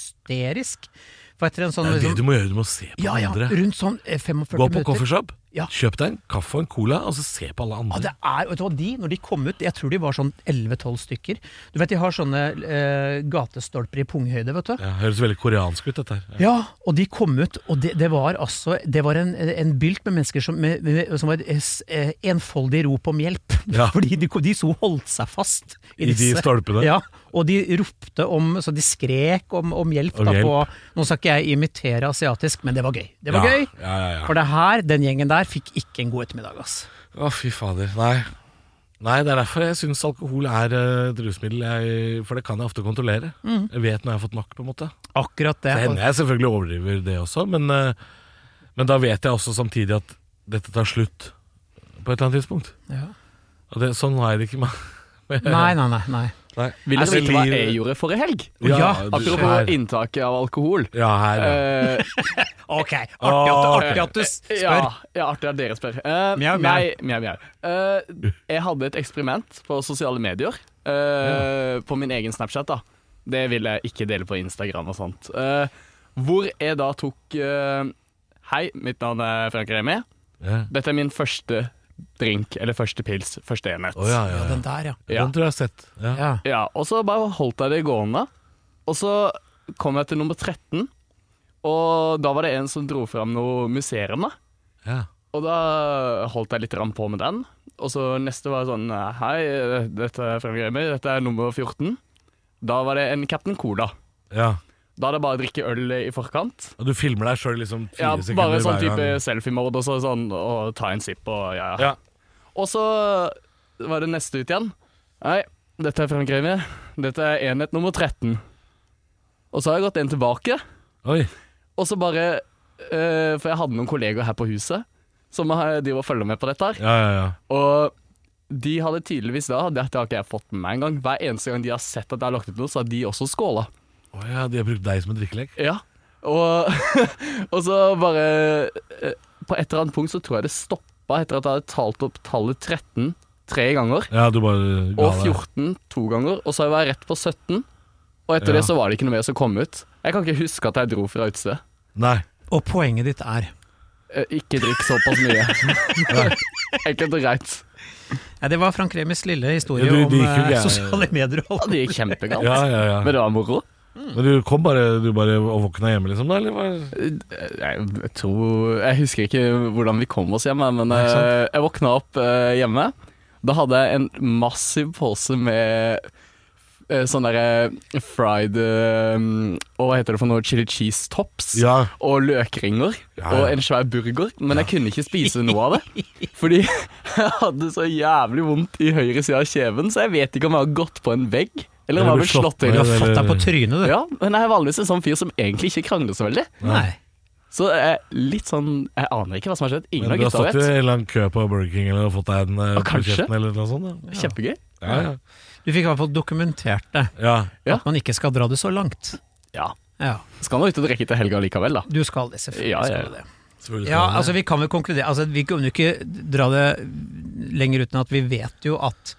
Speaker 2: hysterisk. For etter en sånn
Speaker 3: Det er det
Speaker 2: liksom,
Speaker 3: du må gjøre, du må se på
Speaker 2: ja, ja,
Speaker 3: andre.
Speaker 2: rundt sånn eh, 45
Speaker 3: Gå på
Speaker 2: minutter.
Speaker 3: coffeeshop,
Speaker 2: Ja.
Speaker 3: kjøp deg en kaffe og en cola, og så se på alle
Speaker 2: Ja,
Speaker 3: andre.
Speaker 2: det er, vet du hva, de, når de kom ut, jeg tror de var sånn 11-12 stykker. Du vet, de har sånne eh, gatestolper i punghøyde, vet du.
Speaker 3: Ja, høres veldig koreansk ut, dette her.
Speaker 2: Ja, og de kom ut, og det, det var altså Det var en, en bylt med mennesker som, med, med, som var et s- eh, enfoldig rop om hjelp.
Speaker 3: Ja.
Speaker 2: Fordi de, kom- de så holdt seg fast
Speaker 3: I de stolpene.
Speaker 2: Ja, og de ropte om Så de skrek om, om hjelp.
Speaker 3: Om
Speaker 2: da,
Speaker 3: hjelp.
Speaker 2: På, nå skal ikke jeg imitere asiatisk, men det var gøy. Det var
Speaker 3: ja,
Speaker 2: gøy.
Speaker 3: Ja, ja, ja.
Speaker 2: For det her, den gjengen der fikk ikke en god ettermiddag, ass.
Speaker 3: Å, fy fader. Nei. Nei, det er derfor jeg syns alkohol er eh, et rusmiddel. Jeg, for det kan jeg ofte kontrollere.
Speaker 2: Mm.
Speaker 3: Jeg vet når jeg har fått nok, på en måte.
Speaker 2: Akkurat det.
Speaker 3: Det hender jeg selvfølgelig overdriver det også, men, eh, men da vet jeg også samtidig at dette tar slutt på et eller annet tidspunkt.
Speaker 2: Ja.
Speaker 3: Og det, sånn har jeg det ikke med
Speaker 2: Nei, nei, nei. nei.
Speaker 3: Nei.
Speaker 1: Vil dere
Speaker 3: Altså,
Speaker 1: vite hva
Speaker 3: liv-
Speaker 1: jeg gjorde forrige helg?
Speaker 3: Ja,
Speaker 2: Ja,
Speaker 3: du- her.
Speaker 1: Apropos inntaket av alkohol.
Speaker 3: Ja, her. Ja.
Speaker 1: Eh,
Speaker 2: Ok, artig at,
Speaker 3: Åh,
Speaker 2: artig at du s- spør.
Speaker 1: Ja, ja artig at dere spør. Eh,
Speaker 2: Mjau, mjau.
Speaker 1: Nei, mjau, mjau. Eh, jeg hadde et eksperiment på sosiale medier. eh, På min egen Snapchat, da. Det vil jeg ikke dele på Instagram og sånt. Eh, hvor jeg da tok eh, Hei, mitt navn er Frank Remi.
Speaker 3: ja.
Speaker 1: Dette er min første drink, eller første pils, første enhet.
Speaker 3: Å, ja, ja, ja.
Speaker 2: Den der, ja.
Speaker 1: Ja.
Speaker 3: Den tror jeg jeg har sett. Ja.
Speaker 2: ja.
Speaker 1: Ja, og så bare holdt jeg det gående. Og så kom jeg til nummer 13, og da var det en som dro fram noe musserende.
Speaker 3: Ja.
Speaker 1: Og da holdt jeg litt rann på med den. Og så neste var sånn Hei, dette er Frank Remi, dette er nummer 14. Da var det en Captain Cola.
Speaker 3: Ja.
Speaker 1: Da er det bare å drikke øl i forkant.
Speaker 3: Og du filmer deg sjøl liksom fire
Speaker 1: Ja,
Speaker 3: sekunder
Speaker 1: bare sånn
Speaker 3: hver
Speaker 1: type
Speaker 3: gang.
Speaker 1: selfie-mode og så sånn, og ta en sipp og ja. ja.
Speaker 3: Ja.
Speaker 1: Og så var det neste ut igjen. Hei, dette er Frank Remi. Dette er enhet nummer 13. Og så har jeg gått en tilbake.
Speaker 3: Oi.
Speaker 1: Og så bare eh, For jeg hadde noen kolleger her på huset som eh, driver og følger med på dette her.
Speaker 3: Ja, ja, ja.
Speaker 1: Og de hadde tydeligvis da, dette har ikke jeg fått med meg engang, hver eneste gang de har sett at jeg har lagt ut noe, så har de også skåla.
Speaker 3: Å ja, de har brukt deg som en drikkelek?
Speaker 1: Ja. Og, og så bare eh, På et eller annet punkt så tror jeg det stoppa etter at jeg hadde talt opp tallet 13 tre ganger,
Speaker 3: Ja, du bare ga
Speaker 1: og
Speaker 3: deg.
Speaker 1: 14 to ganger, og så har jeg vært rett på 17. Og etter
Speaker 3: Ja.
Speaker 1: det så var det ikke noe mer som kom ut. Jeg kan ikke huske at jeg dro fra utestedet.
Speaker 3: Nei.
Speaker 2: Og poenget ditt er
Speaker 1: Eh, Ikke drikk såpass mye. Enkelt og greit.
Speaker 2: ja, Det var Frank Remis lille historie
Speaker 3: Ja, du- det
Speaker 2: om
Speaker 3: gikk jo
Speaker 2: eh,
Speaker 3: gærent.
Speaker 2: sosiale medier og
Speaker 1: Ja,
Speaker 2: alt.
Speaker 1: Det gikk kjempegalt.
Speaker 3: Ja, ja, ja.
Speaker 1: Men det var moro.
Speaker 3: Men du kom bare, du bare og våkna hjemme, liksom? da, eller var...
Speaker 1: Jeg, Eh, jeg tror Jeg husker ikke hvordan vi kom oss hjem, jeg, men
Speaker 3: Nei, ikke sant.
Speaker 1: eh, jeg våkna opp eh, hjemme. Da hadde jeg en massiv pose med eh, sånn derre fried eh, og Hva heter det for noe? Chili cheese tops?
Speaker 3: Ja.
Speaker 1: Og løkringer
Speaker 3: Ja, ja.
Speaker 1: og en svær burger, men jeg kunne ikke spise noe av det. Fordi jeg hadde så jævlig vondt i høyre side av kjeven, så jeg vet ikke om jeg har gått på en vegg. Eller om jeg har blitt slått
Speaker 2: Du
Speaker 1: til.
Speaker 2: har fått deg på trynet, du.
Speaker 1: Ja, men jeg er vanligvis en sånn fyr som egentlig ikke krangler så veldig.
Speaker 2: Nei.
Speaker 1: Så jeg er litt sånn Jeg aner ikke hva som har skjedd. Ingen
Speaker 3: Men
Speaker 1: av
Speaker 3: du har
Speaker 1: gutta
Speaker 3: stått i
Speaker 1: vet.
Speaker 3: en eller annen kø på Burger King eller fått deg en eh,
Speaker 1: Ja,
Speaker 3: på
Speaker 1: kanskje.
Speaker 3: kjeften eller noe sånt? Ja.
Speaker 1: Kjempegøy.
Speaker 3: Ja, ja.
Speaker 2: Du fikk i hvert fall dokumentert det.
Speaker 3: ja.
Speaker 1: Ja.
Speaker 2: At man ikke skal dra det så langt.
Speaker 1: Ja.
Speaker 2: Ja,
Speaker 1: Skal nå ut og drikke til helga likevel, da.
Speaker 2: Du skal det, selvfølgelig.
Speaker 1: Ja, ja.
Speaker 2: Skal du det.
Speaker 3: Selvfølgelig
Speaker 2: Ja,
Speaker 3: skal man
Speaker 2: altså
Speaker 3: det.
Speaker 2: vi kan vel konkludere altså, Vi kan jo ikke dra det lenger uten at vi vet jo at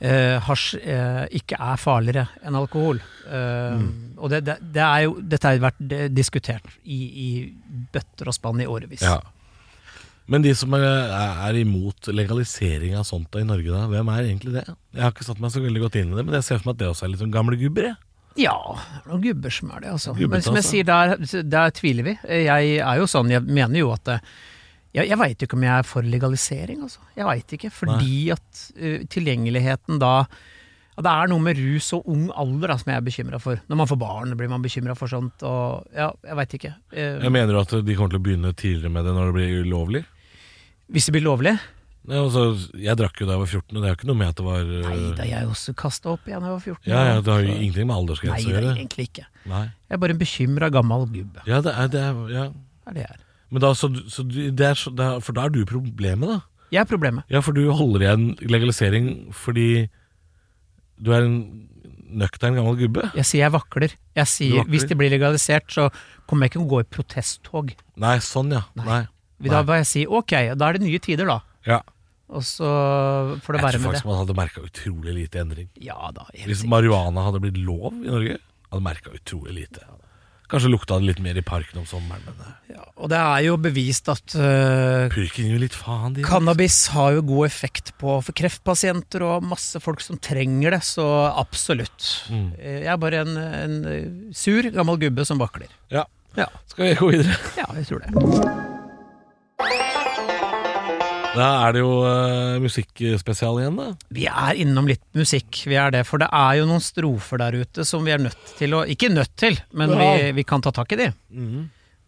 Speaker 2: eh, hasj eh, ikke er farligere enn alkohol. Eh,
Speaker 3: Mm.
Speaker 2: Og det, det, det er jo, dette har jo vært eh, diskutert i, i bøtter og spann i årevis.
Speaker 3: Ja. Men de som er, er imot legalisering av sånt da i Norge, da, hvem er egentlig det? Jeg har ikke satt meg så veldig godt inn i det, men jeg ser for meg at det også er litt sånn gamle gubber. jeg.
Speaker 2: Ja, det er noen gubber som er det, altså.
Speaker 3: Gubbete,
Speaker 2: Men som jeg
Speaker 3: altså.
Speaker 2: sier, der, der tviler vi. Jeg er jo sånn, jeg mener jo at eh, Jeg, jeg veit jo ikke om jeg er for legalisering, altså. Jeg veit ikke. Fordi at eh, tilgjengeligheten da ja, Det er noe med rus og ung alder da, som jeg er bekymra for. Når man får barn, blir man bekymra for sånt. Og, ja, jeg veit ikke. Eh,
Speaker 3: Jeg mener du at de kommer til å begynne tidligere med det når det blir ulovlig?
Speaker 2: hvis det blir lovlig?
Speaker 3: Nei, altså, jeg drakk jo da jeg var 14, og det er jo ikke noe med at det var eh,
Speaker 2: Nei da, jeg også kasta opp igjen da jeg var 14.
Speaker 3: Ja, ja, Det har jo
Speaker 2: Så-
Speaker 3: ingenting med
Speaker 2: Nei,
Speaker 3: aldersgrense
Speaker 2: det
Speaker 3: å
Speaker 2: er
Speaker 3: gjøre.
Speaker 2: egentlig ikke.
Speaker 3: Nei.
Speaker 2: Jeg er bare en bekymra gammel gubbe.
Speaker 3: Ja, det er, det er, ja.
Speaker 2: Det er det jeg er.
Speaker 3: Men da, så, du- så du- det er, så- det er, for da er du problemet, da.
Speaker 2: Jeg er problemet.
Speaker 3: Ja, for du holder igjen legalisering fordi du er en nøktern gammel gubbe.
Speaker 2: Jeg sier jeg vakler. Jeg sier
Speaker 3: Du vakler?
Speaker 2: Hvis det blir legalisert, så kommer jeg ikke til å gå i protesttog.
Speaker 3: Nei, sånn ja. Nei.
Speaker 2: Da vil jeg si ok, da er det nye tider, da.
Speaker 3: Ja.
Speaker 2: Og så får det
Speaker 3: Jeg
Speaker 2: være
Speaker 3: tror
Speaker 2: med
Speaker 3: faktisk
Speaker 2: det.
Speaker 3: man hadde merka utrolig lite endring.
Speaker 2: Ja da. helt
Speaker 3: Hvis
Speaker 2: sikkert.
Speaker 3: marihuana hadde blitt lov i Norge, hadde merka utrolig lite. Kanskje lukta det litt mer i parken om sommeren, men eh,
Speaker 2: Ja, og det er jo bevist at øh,
Speaker 3: purken gir jo litt faen, de.
Speaker 2: cannabis har jo god effekt på for kreftpasienter og masse folk som trenger det, så absolutt.
Speaker 3: Mm.
Speaker 2: Eh, Jeg er bare en, en øh, sur, gammel gubbe som vakler.
Speaker 3: Ja.
Speaker 2: Ja,
Speaker 3: Skal vi gå videre?
Speaker 2: ja jeg tror det.
Speaker 3: Da er det jo eh, musikkspesial igjen, da.
Speaker 2: Vi er innom litt musikk, vi er det. For det er jo noen strofer der ute som vi er nødt til å Ikke nødt til, men vi, vi kan ta tak i de.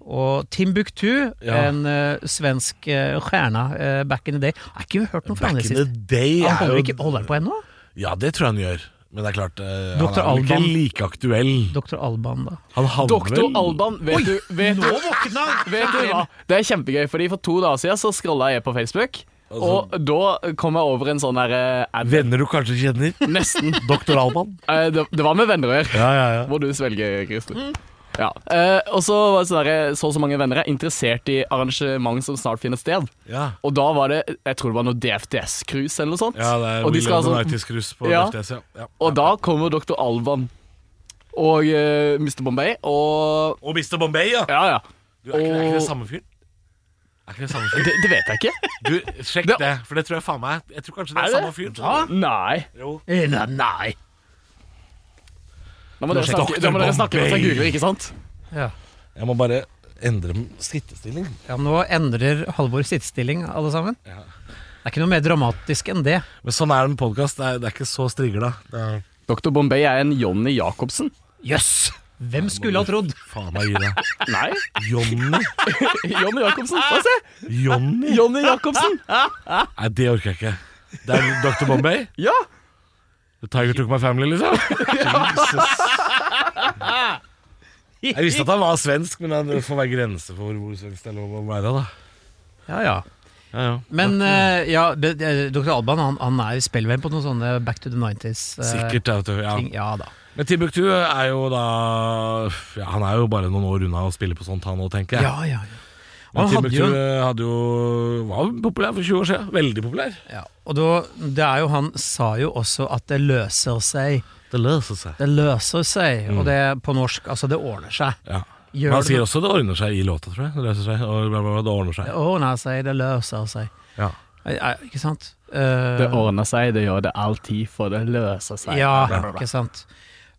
Speaker 2: Og Timbuktu,
Speaker 3: Mhm. Ja.
Speaker 2: en eh, svensk eh, stjerne eh, back in the day. Jeg har ikke hørt noe fra han
Speaker 3: Back in the
Speaker 2: sist.
Speaker 3: day
Speaker 2: Han
Speaker 3: er
Speaker 2: holder,
Speaker 3: jo
Speaker 2: ikke, holder han på ennå?
Speaker 3: Ja, det tror jeg han gjør. Men det er klart, eh, han
Speaker 2: Dr.
Speaker 3: er vel ikke
Speaker 2: Alban.
Speaker 3: like aktuell.
Speaker 2: Dr. Alban, da.
Speaker 3: Han havner
Speaker 1: Doktor
Speaker 3: vel-
Speaker 1: Alban, vet du, vet, du,
Speaker 2: våkna
Speaker 1: vet du hva? Det er kjempegøy, fordi for to dager siden så scrolla jeg på Facebook,
Speaker 3: Altså-
Speaker 1: og da kom jeg over en sånn her eh, ad.
Speaker 3: Venner du kanskje kjenner.
Speaker 1: Nesten.
Speaker 3: Doktor Alban.
Speaker 1: Eh, Det, det var med venner å gjøre.
Speaker 3: Ja, ja, ja.
Speaker 1: Må du svelge, Christer. Ja. Eh, og så var det sånn der, så og så mange venner er interessert i arrangement som snart finner sted.
Speaker 3: Ja.
Speaker 1: Og da var det jeg tror det var noe DFDS-cruise eller noe sånt.
Speaker 3: Ja, det er
Speaker 1: og, de
Speaker 3: William
Speaker 1: skal,
Speaker 3: altså,
Speaker 1: ha sånn-
Speaker 3: United-skrus på
Speaker 1: Ja.
Speaker 3: DFDS, ja. ja.
Speaker 1: og da kommer Dr. Alban og eh, Mr. Bombay og
Speaker 3: Og Mr. Bombay, ja!
Speaker 1: Ja, ja.
Speaker 3: Du, er, ikke, er ikke
Speaker 1: Og-
Speaker 3: det samme fyren? Er ikke det samme fyren?
Speaker 1: Det, det vet jeg ikke.
Speaker 3: Du, Sjekk
Speaker 1: Det-
Speaker 3: det, for det tror jeg faen meg Jeg tror kanskje det
Speaker 1: Er
Speaker 3: er,
Speaker 1: det?
Speaker 3: samme
Speaker 1: Ah.
Speaker 3: fyren.
Speaker 1: Nei.
Speaker 3: Jo.
Speaker 2: Nei.
Speaker 1: Da må dere
Speaker 3: Dr.
Speaker 1: snakke, da må dere snakke mens jeg
Speaker 3: Bombay.
Speaker 1: googler, ikke sant?
Speaker 2: Ja.
Speaker 3: Jeg må bare endre sittestilling.
Speaker 2: ja, nå endrer Halvor sittestilling, alle sammen.
Speaker 3: Ja.
Speaker 2: Det er ikke noe mer dramatisk enn det.
Speaker 3: Men sånn er det med podkast. Det, er- det er ikke så strigla. Det er-
Speaker 1: Dr. Bombay er en Johnny Jacobsen.
Speaker 2: Jøss! Hvem skulle ha trodd?
Speaker 3: Faen meg gi deg.
Speaker 1: Nei,
Speaker 3: Johnny.
Speaker 1: Johnny Jacobsen. Få se!
Speaker 3: Johnny?
Speaker 1: Johnny Jacobsen.
Speaker 3: Nei, det orker jeg ikke. Det er Dr. Bombay.
Speaker 1: Ja.
Speaker 3: The Tiger Took My Family, liksom. Jesus. Jeg visste at han var svensk, men det får være grenser for hvor svensk det er lov å være. da
Speaker 2: Ja, ja.
Speaker 3: ja, ja.
Speaker 2: Men eh, ja, det- det- Dr. Alban han, han er spillvenn på noen sånne Back to the 90s. eh,
Speaker 3: Sikkert. ja, vet du. Ja.
Speaker 2: Ting. Ja da.
Speaker 3: Men Timbuktu er jo da ja, Han er jo bare noen år unna å spille på sånt, han òg, tenker jeg.
Speaker 2: Ja, ja, ja. Og
Speaker 3: Men
Speaker 2: han hadde
Speaker 3: Timbuktu
Speaker 2: jo,
Speaker 3: hadde jo var populær for 20 år siden. Veldig populær.
Speaker 2: ja, og da, det er jo han sa jo også at det løser seg.
Speaker 3: Det løser seg.
Speaker 2: Det løser seg, og det på norsk, altså det ordner seg.
Speaker 3: Ja.
Speaker 2: Gjør
Speaker 3: Men han sier
Speaker 2: det
Speaker 3: også det ordner seg i låta, tror jeg. Det løser seg. Og bla, bla, bla, det ordner
Speaker 2: det
Speaker 3: seg.
Speaker 2: ordner seg, det løser seg.
Speaker 3: Ja.
Speaker 2: Eh, eh, Ikke sant? Eh,
Speaker 1: Det ordner seg, det gjør det alltid, for det løser seg.
Speaker 2: Ja, ikke sant.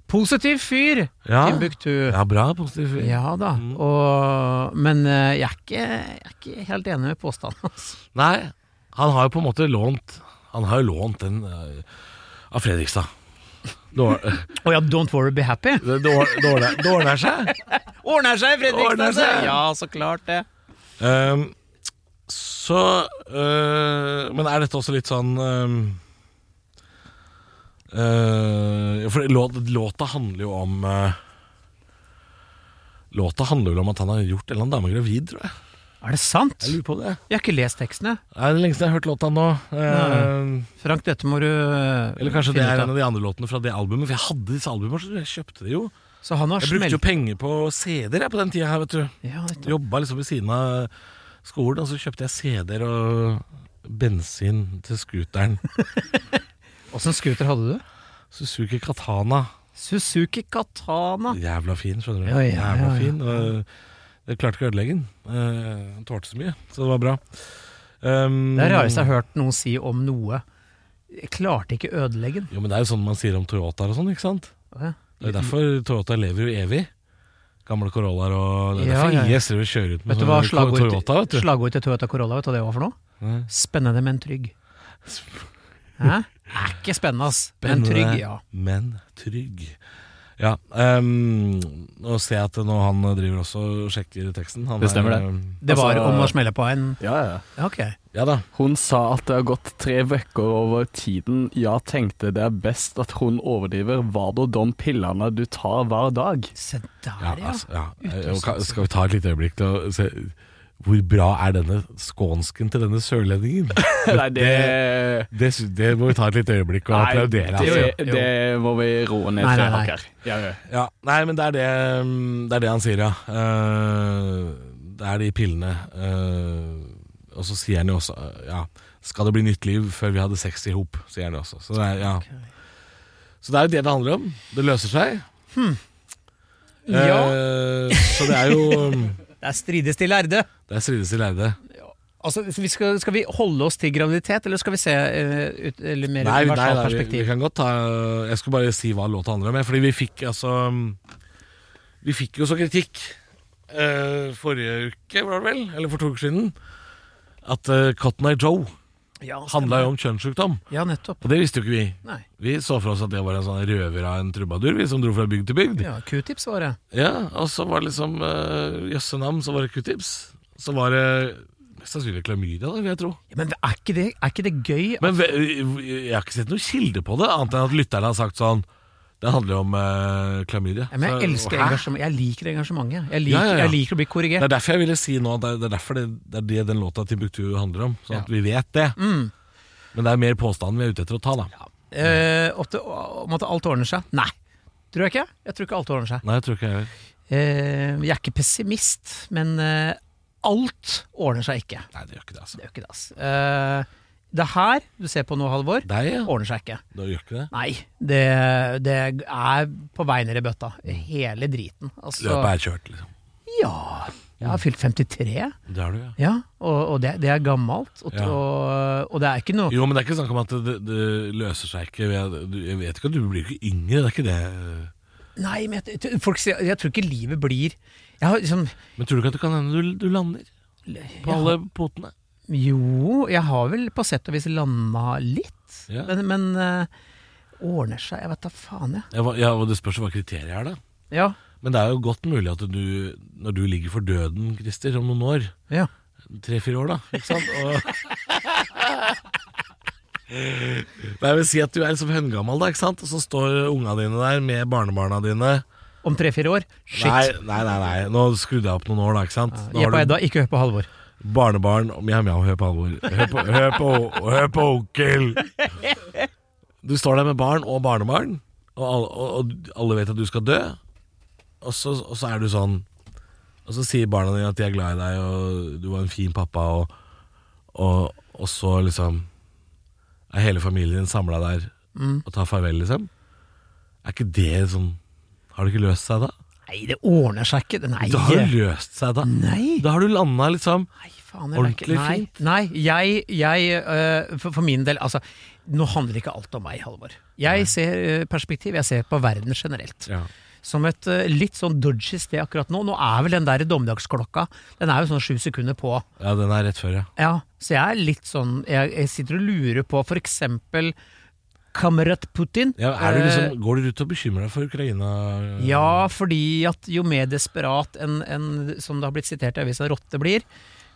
Speaker 2: Positiv fyr,
Speaker 3: Ja.
Speaker 2: Timbuktu.
Speaker 3: ja, bra. Positiv.
Speaker 2: Ja da. Og, men eh, jeg er, ikke, jeg er ikke helt enig med påstanden altså. hans.
Speaker 3: Nei, han har jo på en måte lånt Han har jo lånt den eh, av Fredrikstad. Det or- det
Speaker 2: Å ja, don't worry, be happy.
Speaker 3: or- det ordner det ordner seg.
Speaker 2: Ordner seg,
Speaker 3: Ordner seg.
Speaker 2: Ja, så klart det.
Speaker 3: Ehm, så øh, Men er dette også litt sånn ehm, øh, For låt, låta handler jo om øh, Låta handler vel om at han har gjort en eller annen dame gravid, tror jeg.
Speaker 2: Er det sant?
Speaker 3: Jeg lurer på det.
Speaker 2: Jeg har ikke lest tekstene.
Speaker 3: Det er det lengste jeg har hørt låta nå. Ehm,
Speaker 2: Frank, dette må du eh,
Speaker 3: eller kanskje det
Speaker 2: finne ut
Speaker 3: er en
Speaker 2: av.
Speaker 3: av de andre låtene fra det albumet. For jeg hadde disse albumene, så jeg kjøpte det jo.
Speaker 2: Så han har
Speaker 3: Jeg brukte jo
Speaker 2: smelt
Speaker 3: penger på CD-er jeg, på den tida her, vet du.
Speaker 2: ja, nettopp.
Speaker 3: Jobba liksom ved siden av skolen, og så kjøpte jeg CD-er og bensin til scooteren.
Speaker 2: Åssen scooter hadde du?
Speaker 3: Suzuki Katana.
Speaker 2: Suzuki Katana.
Speaker 3: Jævla fin, skjønner du.
Speaker 2: Ah. Ja, ja,
Speaker 3: Jævla
Speaker 2: ja, ja.
Speaker 3: fin. Og jeg klarte ikke å ødelegge den. Eh, Den tålte så mye, så det var bra. Um,
Speaker 2: Det er det rareste jeg har hørt noen si om noe. Jeg klarte ikke ødelegge den.
Speaker 3: Jo, men det er jo sånn man sier om Toyotaer og sånn, ikke sant?
Speaker 2: Å, ja.
Speaker 3: Det er jo derfor Toyota lever jo evig. Gamle Corollaer og Det er
Speaker 2: Ja,
Speaker 3: derfor
Speaker 2: ja, ja.
Speaker 3: IS driver og kjører ut med
Speaker 2: Vet du hva
Speaker 3: sånne
Speaker 2: slagord til,
Speaker 3: Toyota, vet du.
Speaker 2: slagord til Toyota Corolla vet du hva det var for noe?
Speaker 3: Nei.
Speaker 2: Spennende, men trygg. Hæ? Er ikke spennende, ass. Men
Speaker 3: Spennende,
Speaker 2: trygg, ja.
Speaker 3: Men trygg. Ja. ehm, nå ser jeg at nå han driver også og sjekker teksten. Han
Speaker 1: Det stemmer det.
Speaker 3: ehm,
Speaker 2: Det var
Speaker 1: Altså-
Speaker 2: om å smelle på en
Speaker 1: Ja, ja.
Speaker 2: Ok.
Speaker 3: Ja da.
Speaker 1: Hun sa at det har gått tre vekker over tiden. Jeg tenkte det er best at hun overdriver hva da de pillene du tar hver dag.
Speaker 2: Se
Speaker 3: Ja,
Speaker 2: der, ja.
Speaker 3: altså, ja.
Speaker 2: Ute og
Speaker 3: Kan-
Speaker 2: satse.
Speaker 3: Skal vi ta et lite øyeblikk til å se hvor bra er denne skånsken til denne sørlendingen?
Speaker 1: Nei, det
Speaker 3: Det, sy- det må vi ta et lite øyeblikk og applaudere.
Speaker 1: det,
Speaker 3: Altså.
Speaker 1: det, må vi roe ned
Speaker 2: Nei,
Speaker 1: til
Speaker 2: nei, nei.
Speaker 1: hakker. Ja, ja.
Speaker 3: Ja, nei, men det er det, mm, det er det han sier, ja. Eh, det er de pillene. eh, og så sier han jo også eh, ja, skal det bli nytt liv før vi hadde sex i hop, sier han jo også. Så det, er, ja. så det er jo det det handler om. Det løser seg.
Speaker 2: Ja,
Speaker 3: Eh, så det er jo mm,
Speaker 2: det er strides til lærde.
Speaker 3: Det er strides i lærde.
Speaker 2: Altså, vi skal, skal vi holde oss til graviditet, eller skal vi se eh, ut, eller mer
Speaker 3: Nei, nei,
Speaker 2: universalt
Speaker 3: nei vi, vi
Speaker 2: perspektiv?
Speaker 3: kan godt ta Jeg skulle bare si hva låta handler om. jeg, Fordi vi fikk altså Vi fikk jo så kritikk eh, forrige uke, var det vel? Eller for to uker siden. At eh, Cotton Eye Joe
Speaker 2: Ja,
Speaker 3: handla jo om kjønnssykdom.
Speaker 2: Ja, nettopp.
Speaker 3: Og det visste jo ikke vi.
Speaker 2: Nei.
Speaker 3: Vi så for oss at det var en sånn røver av en trubadur, vi som dro fra bygd til bygd. Ja,
Speaker 2: Ja, Q-tips var det.
Speaker 3: Og så var det liksom eh, jøsse navn, så var det q-tips. Så var det mest sannsynlig klamydia, da, vil jeg tro.
Speaker 2: Ja, men er ikke det, er ikke det gøy?
Speaker 3: Men ve- jeg har ikke sett noen kilde på det, annet enn at lytterne har sagt sånn Det handler jo om eh, klamydia.
Speaker 2: Ja, men jeg
Speaker 3: Så-
Speaker 2: elsker
Speaker 3: Hæ?
Speaker 2: engasjement. Jeg liker engasjementet. Jeg liker,
Speaker 3: Ja, ja, ja.
Speaker 2: Jeg liker å bli
Speaker 3: Det
Speaker 2: korrigert.
Speaker 3: er derfor jeg ville si nå at det er- det er derfor det, det er det den låta til Buktu handler om. Sånn at vi vet det.
Speaker 2: Mm.
Speaker 3: Men det er mer påstanden vi er ute etter å ta, da.
Speaker 2: Eh, at det- om at alt ordner seg. Nei. Tror jeg ikke. Jeg tror ikke alt ordner seg.
Speaker 3: Nei, jeg tror ikke jeg heller.
Speaker 2: Eh, jeg er ikke pessimist, men eh, alt ordner seg ikke.
Speaker 3: Nei, det gjør ikke det, altså.
Speaker 2: Det er jo ikke det, ass. Eh, det her du ser på nå, Halvor,
Speaker 3: Deg, ja.
Speaker 2: ordner seg ikke.
Speaker 3: Det gjør ikke det.
Speaker 2: Nei, det, det er på vei ned i bøtta. Hele driten. Altså,
Speaker 3: Løpet er kjørt, liksom.
Speaker 2: ja. Jeg har fylt 53.
Speaker 3: Det er du, ja.
Speaker 2: Ja, og, og det, det er gammelt, og,
Speaker 3: Ja.
Speaker 2: og, og det er ikke noe
Speaker 3: Jo, men det er ikke snakk om at det, det løser seg ikke. Jeg, du- jeg vet ikke at du blir ikke yngre, det er ikke det.
Speaker 2: Eh. Nei, men jeg, jeg- folk sier Jeg tror ikke livet blir Jeg har liksom
Speaker 3: Men tror du ikke at det kan hende du, du lander på
Speaker 2: jeg,
Speaker 3: alle potene?
Speaker 2: Jo, jeg har vel på sett og vis landa litt,
Speaker 3: Ja.
Speaker 2: men, men eh, ordner seg Jeg vet da faen, jeg.
Speaker 3: Jeg, var- ja, og det spørs jo hva kriteriet er, da.
Speaker 2: Ja.
Speaker 3: Men det er jo godt mulig at du, når du ligger for døden, Christer, om noen år
Speaker 2: ja.
Speaker 3: Tre-fire år, da. Ikke sant? Og... Nei, jeg vil si at du er liksom høngammal, da, ikke sant? Og så står unga dine der med barnebarna dine.
Speaker 2: Om tre-fire år? Shit.
Speaker 3: Nei, nei, nei, nei, nå skrudde jeg opp noen år, da, ikke sant? Nå
Speaker 2: Jeg på
Speaker 3: har du
Speaker 2: Edda, ikke hør på Halvor.
Speaker 3: barnebarn og mjau, mjau, hør på alvor. Hør på, hør på, hør på onkel! Du står der med barn og barnebarn, og alle, og, og alle vet at du skal dø, og så, og så er du sånn Og så sier barna dine at de er glad i deg, og du var en fin pappa, og, og, og så liksom Er hele familien din samla der
Speaker 2: Mm.
Speaker 3: og tar farvel, liksom? Er ikke det sånn Har det ikke løst seg da?
Speaker 2: Nei, det ordner seg ikke. det- Nei.
Speaker 3: Da har det løst seg, da.
Speaker 2: Nei.
Speaker 3: Da har du landa, liksom.
Speaker 2: Nei, faen, jeg merker-
Speaker 3: Ordentlig
Speaker 2: nei,
Speaker 3: fint.
Speaker 2: Nei, jeg, jeg øh, for, for min del Altså, nå handler ikke alt om meg, Halvor. Jeg ser øh, perspektiv, jeg ser på verden generelt.
Speaker 3: Ja.
Speaker 2: Som et øh, litt sånn dodgy sted akkurat nå. Nå er vel den der dommedagsklokka Den er jo sånn sju sekunder på.
Speaker 3: ja, den er rett før, ja.
Speaker 2: Ja, Så jeg er litt sånn Jeg, jeg sitter og lurer på for eksempel kamerat Putin.
Speaker 3: Ja, er du
Speaker 2: Eh,
Speaker 3: liksom, går du ut og bekymrer deg for Ukraina?
Speaker 2: Ja, fordi at jo mer desperat en, en som det har blitt sitert i avisa, rotte blir,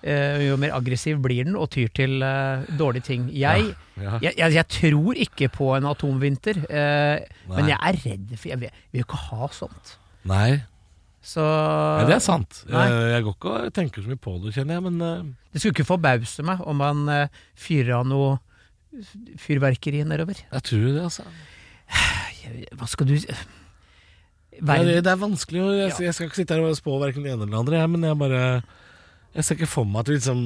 Speaker 2: eh, jo mer aggressiv blir den og tyr til eh, dårlige ting. Jeg,
Speaker 3: Ja, ja.
Speaker 2: Jeg, jeg, jeg tror ikke på en atomvinter, eh, men
Speaker 3: Nei.
Speaker 2: jeg er redd for Jeg vil jeg vil jo ikke ha sånt.
Speaker 3: Nei.
Speaker 2: Så
Speaker 3: Nei, det er sant.
Speaker 2: Eh, Nei.
Speaker 3: Jeg, jeg går ikke og tenker så mye på det, kjenner jeg, men eh,
Speaker 2: det skulle ikke forbause meg om man eh, fyrer av noe fyrverkeri nedover.
Speaker 3: jeg tror det, altså.
Speaker 2: Jeg- Hva skal du
Speaker 3: Nei,
Speaker 2: Verden
Speaker 3: det, det er vanskelig å jeg, jeg skal ikke sitte her og spå verken det ene eller det andre, jeg, men jeg bare Jeg ser ikke for meg at vi liksom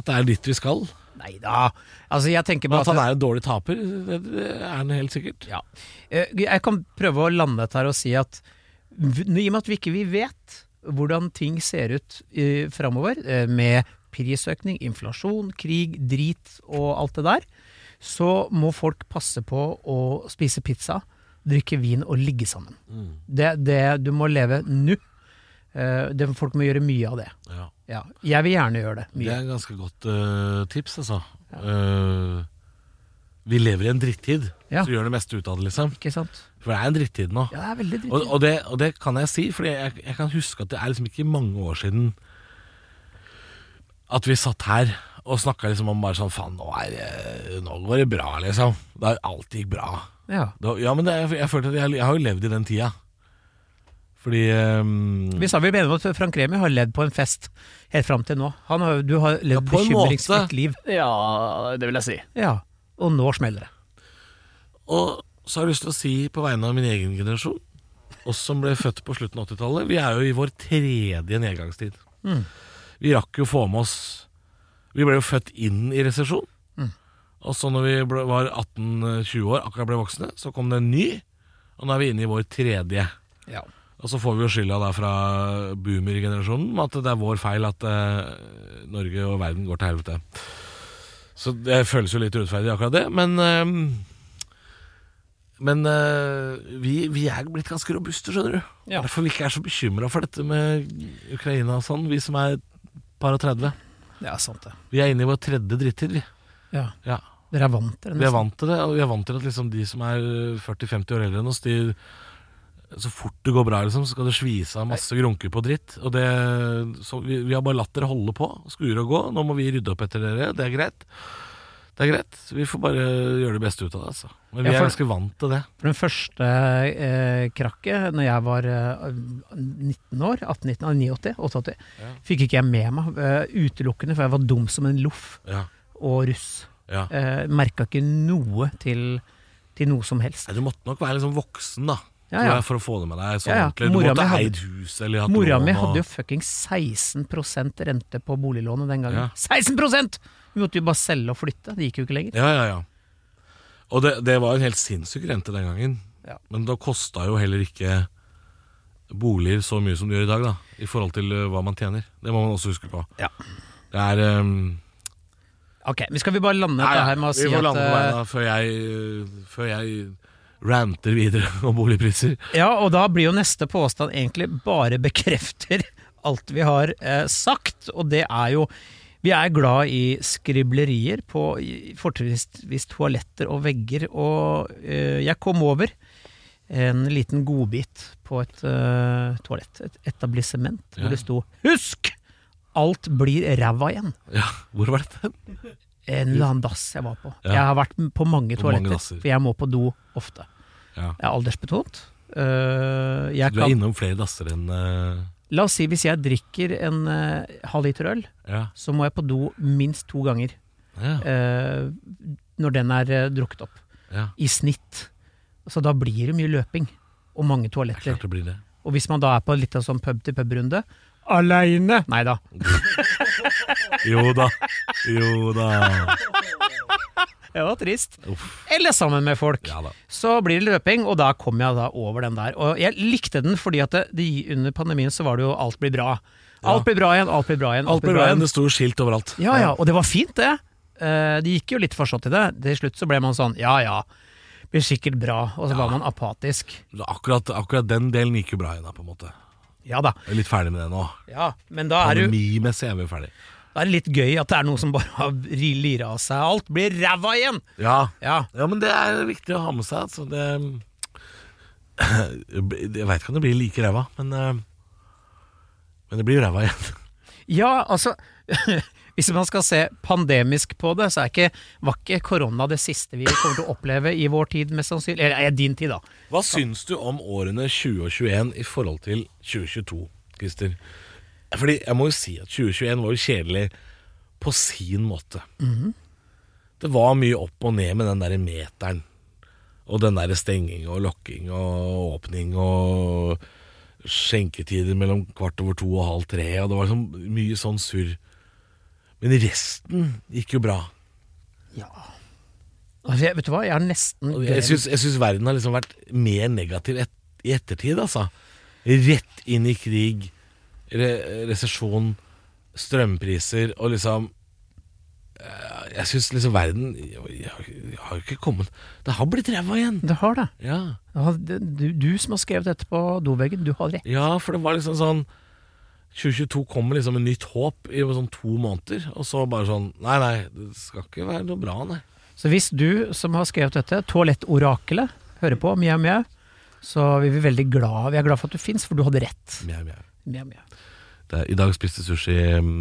Speaker 3: At det er dit vi skal.
Speaker 2: Nei da. Altså, jeg tenker
Speaker 3: Men
Speaker 2: bare
Speaker 3: at han er en dårlig taper, det, det er han helt sikkert.
Speaker 2: Ja. Eh, Jeg kan prøve å lande dette her og si at v- i og med at vi ikke vi vet hvordan ting ser ut eh, framover, eh, med prisøkning, inflasjon, krig, drit og alt det der, så må folk passe på å spise pizza, drikke vin og ligge sammen.
Speaker 3: Mm.
Speaker 2: Det, det, du må leve nå. Eh, det, folk må gjøre mye av det.
Speaker 3: Ja.
Speaker 2: Ja. Jeg vil gjerne gjøre det.
Speaker 3: Det
Speaker 2: Mye.
Speaker 3: er et ganske godt eh, tips, altså. Eh, vi lever i en drittid,
Speaker 2: Ja.
Speaker 3: så gjør det meste ut av det, liksom.
Speaker 2: Ikke sant?
Speaker 3: For det er en drittid nå.
Speaker 2: Ja, det er veldig dritt.
Speaker 3: Og, og, det, og det kan jeg si, Fordi jeg, jeg kan huske at det er liksom ikke mange år siden at vi satt her og snakka liksom om bare sånn Faen, nå, er det- nå går det bra, liksom. Det har alltid gikk bra.
Speaker 2: Ja.
Speaker 3: Det, ja, men det, jeg, jeg følte at jeg, jeg har jo levd i den tida. Fordi ehm,
Speaker 2: Vi sa vel mener at Frank Remi har ledd på en fest helt fram til nå. Han har, du har ledd
Speaker 3: Ja, på en måte.
Speaker 2: bekymringsfritt liv.
Speaker 1: Ja, det vil jeg si.
Speaker 2: Ja, og nå smeller det.
Speaker 3: Og så har jeg lyst til å si på vegne av min egen generasjon, oss som ble født på slutten av 80-tallet, vi er jo i vår tredje nedgangstid. Vi rakk jo få med oss Vi ble jo født inn i resesjon. Og så når vi ble, var 18-20 år, akkurat ble voksne, så kom det en ny. Og nå er vi inne i vår tredje.
Speaker 2: Ja.
Speaker 3: Og så får vi jo skylda da fra boomergenerasjonen med at det er vår feil at eh, Norge og verden går til helvete. Så det føles jo litt urettferdig, akkurat det. Men, eh, men eh, vi, vi er blitt ganske robuste, skjønner du.
Speaker 2: Ja.
Speaker 3: Derfor vi ikke er så bekymra for dette med Ukraina og sånn, vi som er par og 30.
Speaker 2: Det er sant, det.
Speaker 3: Vi er inne i vår tredje drittid. vi.
Speaker 2: Ja.
Speaker 3: Ja.
Speaker 2: Dere er vant til det.
Speaker 3: Vi er
Speaker 2: nesten.
Speaker 3: vant til det. Og vi er vant til at liksom de som er 40-50 år eldre enn oss, de så fort det går bra, liksom, så skal det svise av masse grunker på dritt. Og det, så vi, vi har bare latt dere holde på. Skure og gå. Nå må vi rydde opp etter dere. Det er greit. Det er greit. Vi får bare gjøre det beste ut av det. Altså. Men vi
Speaker 2: Ja, for-
Speaker 3: er ganske vant til det.
Speaker 2: For den første eh, krakket, når jeg var eh, 19 år, 18-19, ah, 89, 88,
Speaker 3: Ja.
Speaker 2: fikk ikke jeg med meg eh, utelukkende, for jeg var dum som en loff
Speaker 3: Ja,
Speaker 2: og russ.
Speaker 3: ja.
Speaker 2: Eh, Merka ikke noe til, til noe som helst.
Speaker 3: Nei, du måtte nok være liksom voksen da
Speaker 2: Ja,
Speaker 3: tror
Speaker 2: ja.
Speaker 3: jeg, for å få det med deg. Sånn
Speaker 2: Ja, ja.
Speaker 3: ordentlig. Du
Speaker 2: Mora mi
Speaker 3: måtte ha
Speaker 2: hadde-
Speaker 3: eid hus eller hatt
Speaker 2: Mora mi
Speaker 3: lån, og-
Speaker 2: hadde jo fucking 16 rente på boliglånet den gangen.
Speaker 3: Ja.
Speaker 2: 16 Vi måtte jo bare selge og flytte, det gikk jo ikke lenger.
Speaker 3: Ja, ja, ja. Og det, det var en helt sinnssyk rente den gangen.
Speaker 2: Ja.
Speaker 3: Men da kosta jo heller ikke boliger så mye som det gjør i dag, da. I forhold til eh, hva man tjener. Det må man også huske på.
Speaker 2: Ja.
Speaker 3: Det er ehm,
Speaker 2: Ok, men skal vi bare lande dette her med å si
Speaker 3: Vi må
Speaker 2: at
Speaker 3: lande på
Speaker 2: eh,
Speaker 3: beina før jeg, eh, før jeg ranter videre om boligpriser.
Speaker 2: Ja, og da blir jo neste påstand egentlig bare bekrefter alt vi har eh, sagt, og det er jo Vi er glad i skriblerier på i- fortrinnsvis toaletter og vegger, og eh, jeg kom over en liten godbit på et eh, toalett, et etablissement,
Speaker 3: Ja.
Speaker 2: hvor det sto 'Husk! Alt blir ræva igjen'.
Speaker 3: Ja, hvor var dette?
Speaker 2: En eller annen dass jeg var på.
Speaker 3: Ja.
Speaker 2: Jeg har vært på mange
Speaker 3: På mange
Speaker 2: toaletter,
Speaker 3: dasser.
Speaker 2: for jeg må på do ofte.
Speaker 3: Ja.
Speaker 2: Jeg er aldersbetont. Eh, jeg
Speaker 3: Du er innom flere dasser enn eh,
Speaker 2: La oss si hvis jeg drikker en eh, halv liter øl,
Speaker 3: ja.
Speaker 2: så må jeg på do minst to ganger
Speaker 3: Ja,
Speaker 2: eh, når den er eh, drukket opp.
Speaker 3: ja.
Speaker 2: I snitt. Så da blir det mye løping. Og mange toaletter.
Speaker 3: Klart det blir det.
Speaker 2: Og hvis man da er på litt av sånn pub-til-pub-runde Aleine! Nei da.
Speaker 3: Jo da. Jo da.
Speaker 2: Det var trist.
Speaker 3: Uff.
Speaker 2: Eller sammen med folk.
Speaker 3: Ja da.
Speaker 2: Så blir det løping, og da kom jeg da over den der. Og jeg likte den fordi at det, det, under pandemien så var det jo alt blir bra. Alt blir bra igjen, alt blir bra igjen.
Speaker 3: Alt blir bra igjen. Det sto skilt overalt.
Speaker 2: Ja, ja, og det var fint det. Eh, Det gikk jo litt forstått i det. Til slutt så ble man sånn, ja ja, blir sikkert bra. Og så var man apatisk.
Speaker 3: Akkurat, akkurat den delen gikk jo bra igjen, da, på en måte.
Speaker 2: Ja da.
Speaker 3: Jeg er litt ferdig med det nå.
Speaker 2: Ja, men da er, det jo,
Speaker 3: Pandemimessig er vi jo ferdig.
Speaker 2: da er det litt gøy at det er noen som bare har lira av seg alt. Blir ræva igjen!
Speaker 3: Ja.
Speaker 2: Ja.
Speaker 3: ja, men det er viktig å ha med seg. Altså. Det, jeg veit ikke om det blir like ræva, men eh, Men det blir jo ræva igjen.
Speaker 2: ja, altså Hvis man skal se pandemisk på det, så er ikke, var ikke korona det siste vi kommer til å oppleve i vår tid, mest sannsynlig. Eller eh, din tid, da.
Speaker 3: Hva syns du om årene 2021 i forhold til 2022, Christer? Fordi jeg må jo si at 2021 var jo kjedelig på sin måte. Det var mye opp og ned med den derre meteren. Og den derre stenging og lokking og åpning og skjenketider mellom kvart over to og halv tre, og det var liksom mye sånn surr. Men resten gikk jo bra.
Speaker 2: Ja. Altså, jeg, vet du hva, jeg har nesten
Speaker 3: Og Jeg
Speaker 2: glemt-
Speaker 3: syns, jeg syns verden har liksom vært mer negativ et, i ettertid, altså. Rett inn i krig, re, resesjon, strømpriser og liksom eh, Jeg syns liksom verden jeg, jeg, jeg har jo ikke kommet Det har blitt ræva igjen.
Speaker 2: Det har det.
Speaker 3: Ja.
Speaker 2: Ja, det- Du, du som har skrevet dette på doveggen, du har rett.
Speaker 3: ja, for det var liksom sånn 2022 kommer liksom med nytt håp i sånn to måneder, og så bare sånn Nei, nei, det skal ikke være noe bra, nei.
Speaker 2: Så hvis du som har skrevet dette, toalettorakelet, hører på, mjau, mjau, så er vi veldig glad. Vi er glad for at du fins, for du hadde rett.
Speaker 3: Mjau, mjau.
Speaker 2: Mjau, mjau.
Speaker 3: Det er- I dag spiste sushi um,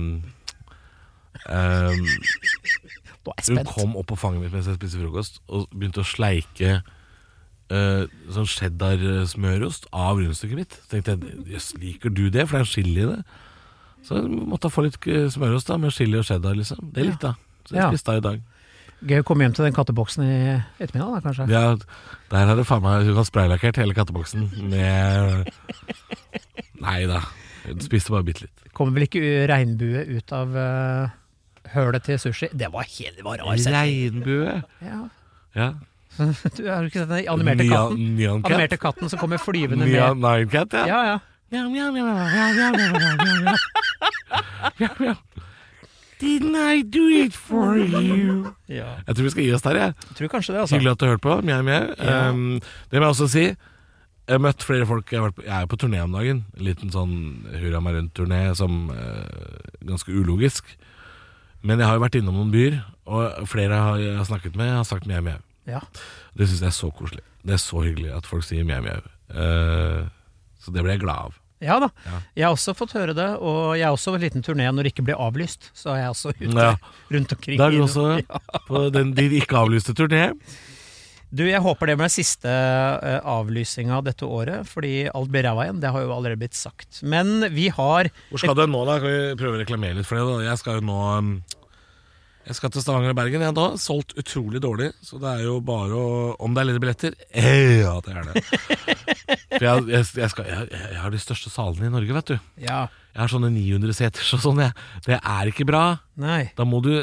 Speaker 3: um,
Speaker 2: Nå er jeg
Speaker 3: Hun
Speaker 2: spent.
Speaker 3: kom opp på fanget mitt mens jeg spiste frokost og begynte å sleike eh, sånn cheddar-smørost av rundstykket mitt. Så tenkte jeg jøss, liker du det? For det er en chili i det. Så jeg måtte jeg få litt eh, smørost da med chili og cheddar, liksom. Det likte jeg. Så jeg
Speaker 2: Ja.
Speaker 3: spiste det i dag.
Speaker 2: Gøy å komme hjem til den katteboksen i ettermiddag, da, kanskje.
Speaker 3: Vi har- der har det faen meg Hun har spraylakkert hele katteboksen med Nei da. Hun Spiste bare bitte litt.
Speaker 2: Kommer vel ikke ø, regnbue ut av ø, hølet til sushi? Det var helt det var rar setning.
Speaker 3: Regnbue.
Speaker 2: Ja.
Speaker 3: Ja.
Speaker 2: Du har jo ikke sett den animerte katten? Animerte
Speaker 3: Nyan-cat.
Speaker 2: katten som kommer flyvende med
Speaker 3: Nyan-cat, ja.
Speaker 2: Ja, ja.
Speaker 3: Mjau, mjau, mjau, mjau, mjau, mjau, mjau, mjau, mjau. Mjau, mjau. Didn't I do it for you?
Speaker 2: ja.
Speaker 3: Jeg tror vi skal gi oss der, jeg.
Speaker 2: Jeg tror kanskje det, altså.
Speaker 3: Hyggelig at du hørte på. Mjau, mjau.
Speaker 2: Ja.
Speaker 3: Um, det må jeg også si. Jeg har møtt flere folk. Jeg, har vært på, jeg er jo på turné om dagen. En liten sånn hurra meg rundt-turné som eh, ganske ulogisk. Men jeg har jo vært innom noen byer, og flere jeg har, jeg har snakket med, har sagt mjau, mjau.
Speaker 2: Ja.
Speaker 3: Det syns jeg er så koselig. Det er så hyggelig at folk sier mjau, mjau. Eh, så det ble jeg glad av.
Speaker 2: Ja da.
Speaker 3: Ja.
Speaker 2: Jeg har også fått høre det, og jeg har også en liten turné når det ikke ble avlyst. Så er jeg også ute
Speaker 3: Ja.
Speaker 2: rundt omkring.
Speaker 3: Da er du
Speaker 2: i-
Speaker 3: også på den de ikke avlyste turné.
Speaker 2: Du, jeg håper det blir siste uh, avlysinga dette året, fordi alt blir ræva igjen. Det har jo allerede blitt sagt. Men vi har
Speaker 3: Hvor skal du nå, da? Kan vi prøve å reklamere litt for det? da? Jeg skal jo nå um, Jeg skal til Stavanger og Bergen. Jeg har da solgt utrolig dårlig, så det er jo bare å Om det er ledige billetter? Eh, ja, det er det. For jeg, jeg, jeg, skal, jeg, jeg har de største salene i Norge, vet du.
Speaker 2: Ja.
Speaker 3: Jeg har sånne 900 seters og sånn. Jeg. Det er ikke bra.
Speaker 2: Nei.
Speaker 3: Da må du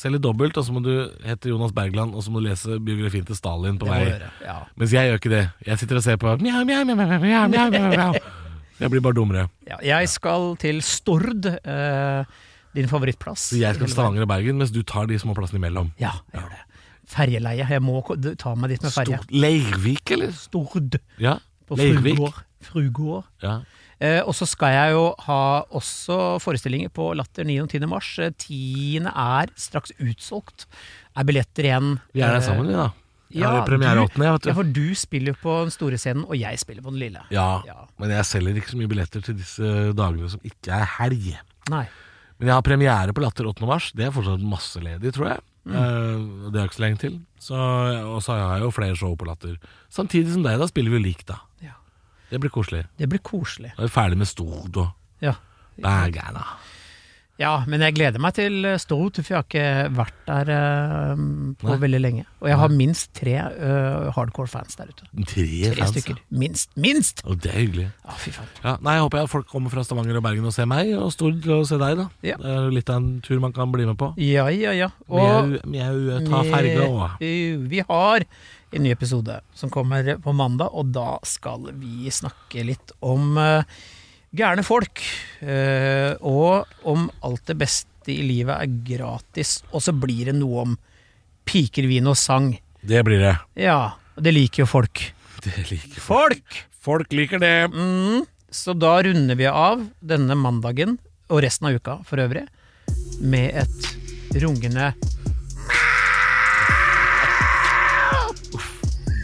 Speaker 3: selge dobbelt, og så må du hete Jonas Bergland, og så må du lese biografien til Stalin på
Speaker 2: Det må
Speaker 3: vei.
Speaker 2: vi gjøre. Ja.
Speaker 3: Mens jeg gjør ikke det. Jeg sitter og ser på mjau, mjau, mjau, mjau, mjau, mjau, mjau, mjau. Jeg blir bare dummere.
Speaker 2: Ja, jeg skal til Stord, eh, din favorittplass.
Speaker 3: Så jeg skal til Stavanger og Bergen, mens du tar de små plassene imellom.
Speaker 2: Ja, jeg gjør det. Ferjeleie. Jeg må ko- d- ta meg dit med ferje.
Speaker 3: Stort Leirvik, eller?
Speaker 2: Stord.
Speaker 3: Ja.
Speaker 2: På
Speaker 3: Leirvik.
Speaker 2: Frugård. Frugård.
Speaker 3: Ja.
Speaker 2: Eh, og så skal jeg jo ha også forestillinger på Latter 9. og 10. mars. Eh, 10. er straks utsolgt. Er billetter igjen.
Speaker 3: Vi er der
Speaker 2: eh,
Speaker 3: sammen, vi, da. Jeg
Speaker 2: ja,
Speaker 3: har premiere
Speaker 2: du-
Speaker 3: 8., jeg,
Speaker 2: Ja,
Speaker 3: vet du.
Speaker 2: for du spiller jo på den store scenen, og jeg spiller på den lille.
Speaker 3: Ja, men jeg selger ikke så mye billetter til disse eh, dagene som ikke er helg.
Speaker 2: Nei.
Speaker 3: Men jeg har premiere på Latter 8. mars. Det er fortsatt masse ledig, tror jeg.
Speaker 2: Mm.
Speaker 3: Eh, det er ikke så lenge til. Så, og så har jeg jo flere show på Latter. Samtidig som deg, da spiller vi jo likt, da.
Speaker 2: Ja.
Speaker 3: Det blir koselig.
Speaker 2: Det blir koselig.
Speaker 3: Da er vi ferdig med Stord og
Speaker 2: Ja.
Speaker 3: Bergen, da.
Speaker 2: ja, men jeg gleder meg til eh, Stord, for jeg har ikke vært der eh, på
Speaker 3: Nei.
Speaker 2: veldig lenge. Og jeg har minst tre eh, hardcore fans der ute.
Speaker 3: Tre
Speaker 2: Tre
Speaker 3: fans. ja.
Speaker 2: stykker. Minst. Minst!
Speaker 3: Og det er hyggelig.
Speaker 2: Ja, fy faen.
Speaker 3: Ja, nei, Jeg håper jeg folk kommer fra Stavanger og Bergen og ser meg, og Stord til å se deg. da
Speaker 2: Ja.
Speaker 3: Det er jo litt av en tur man kan bli med på.
Speaker 2: Ja, ja, ja.
Speaker 3: Mjau, mjau, ta ferga òg.
Speaker 2: Eh, Vi- Vi har en ny episode som kommer på mandag, og da skal vi snakke litt om eh, gærne folk. eh, og om alt det beste i livet er gratis, og så blir det noe om piker, vin og sang.
Speaker 3: Det blir det.
Speaker 2: Ja, og det liker jo folk.
Speaker 3: Det liker
Speaker 2: Folk!
Speaker 3: Folk liker det.
Speaker 2: Mm, så da runder vi av denne mandagen, og resten av uka for øvrig, med et rungende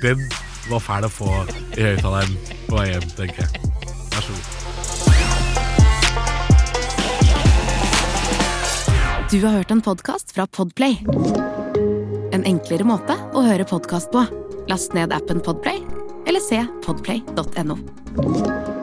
Speaker 3: Den var fæl å få i høyttaleren på vei hjem, tenker jeg. Vær så god.
Speaker 4: Du har hørt en podcast fra Podplay En enklere måte å høre podcast på Last ned appen Podplay Eller se podplay.no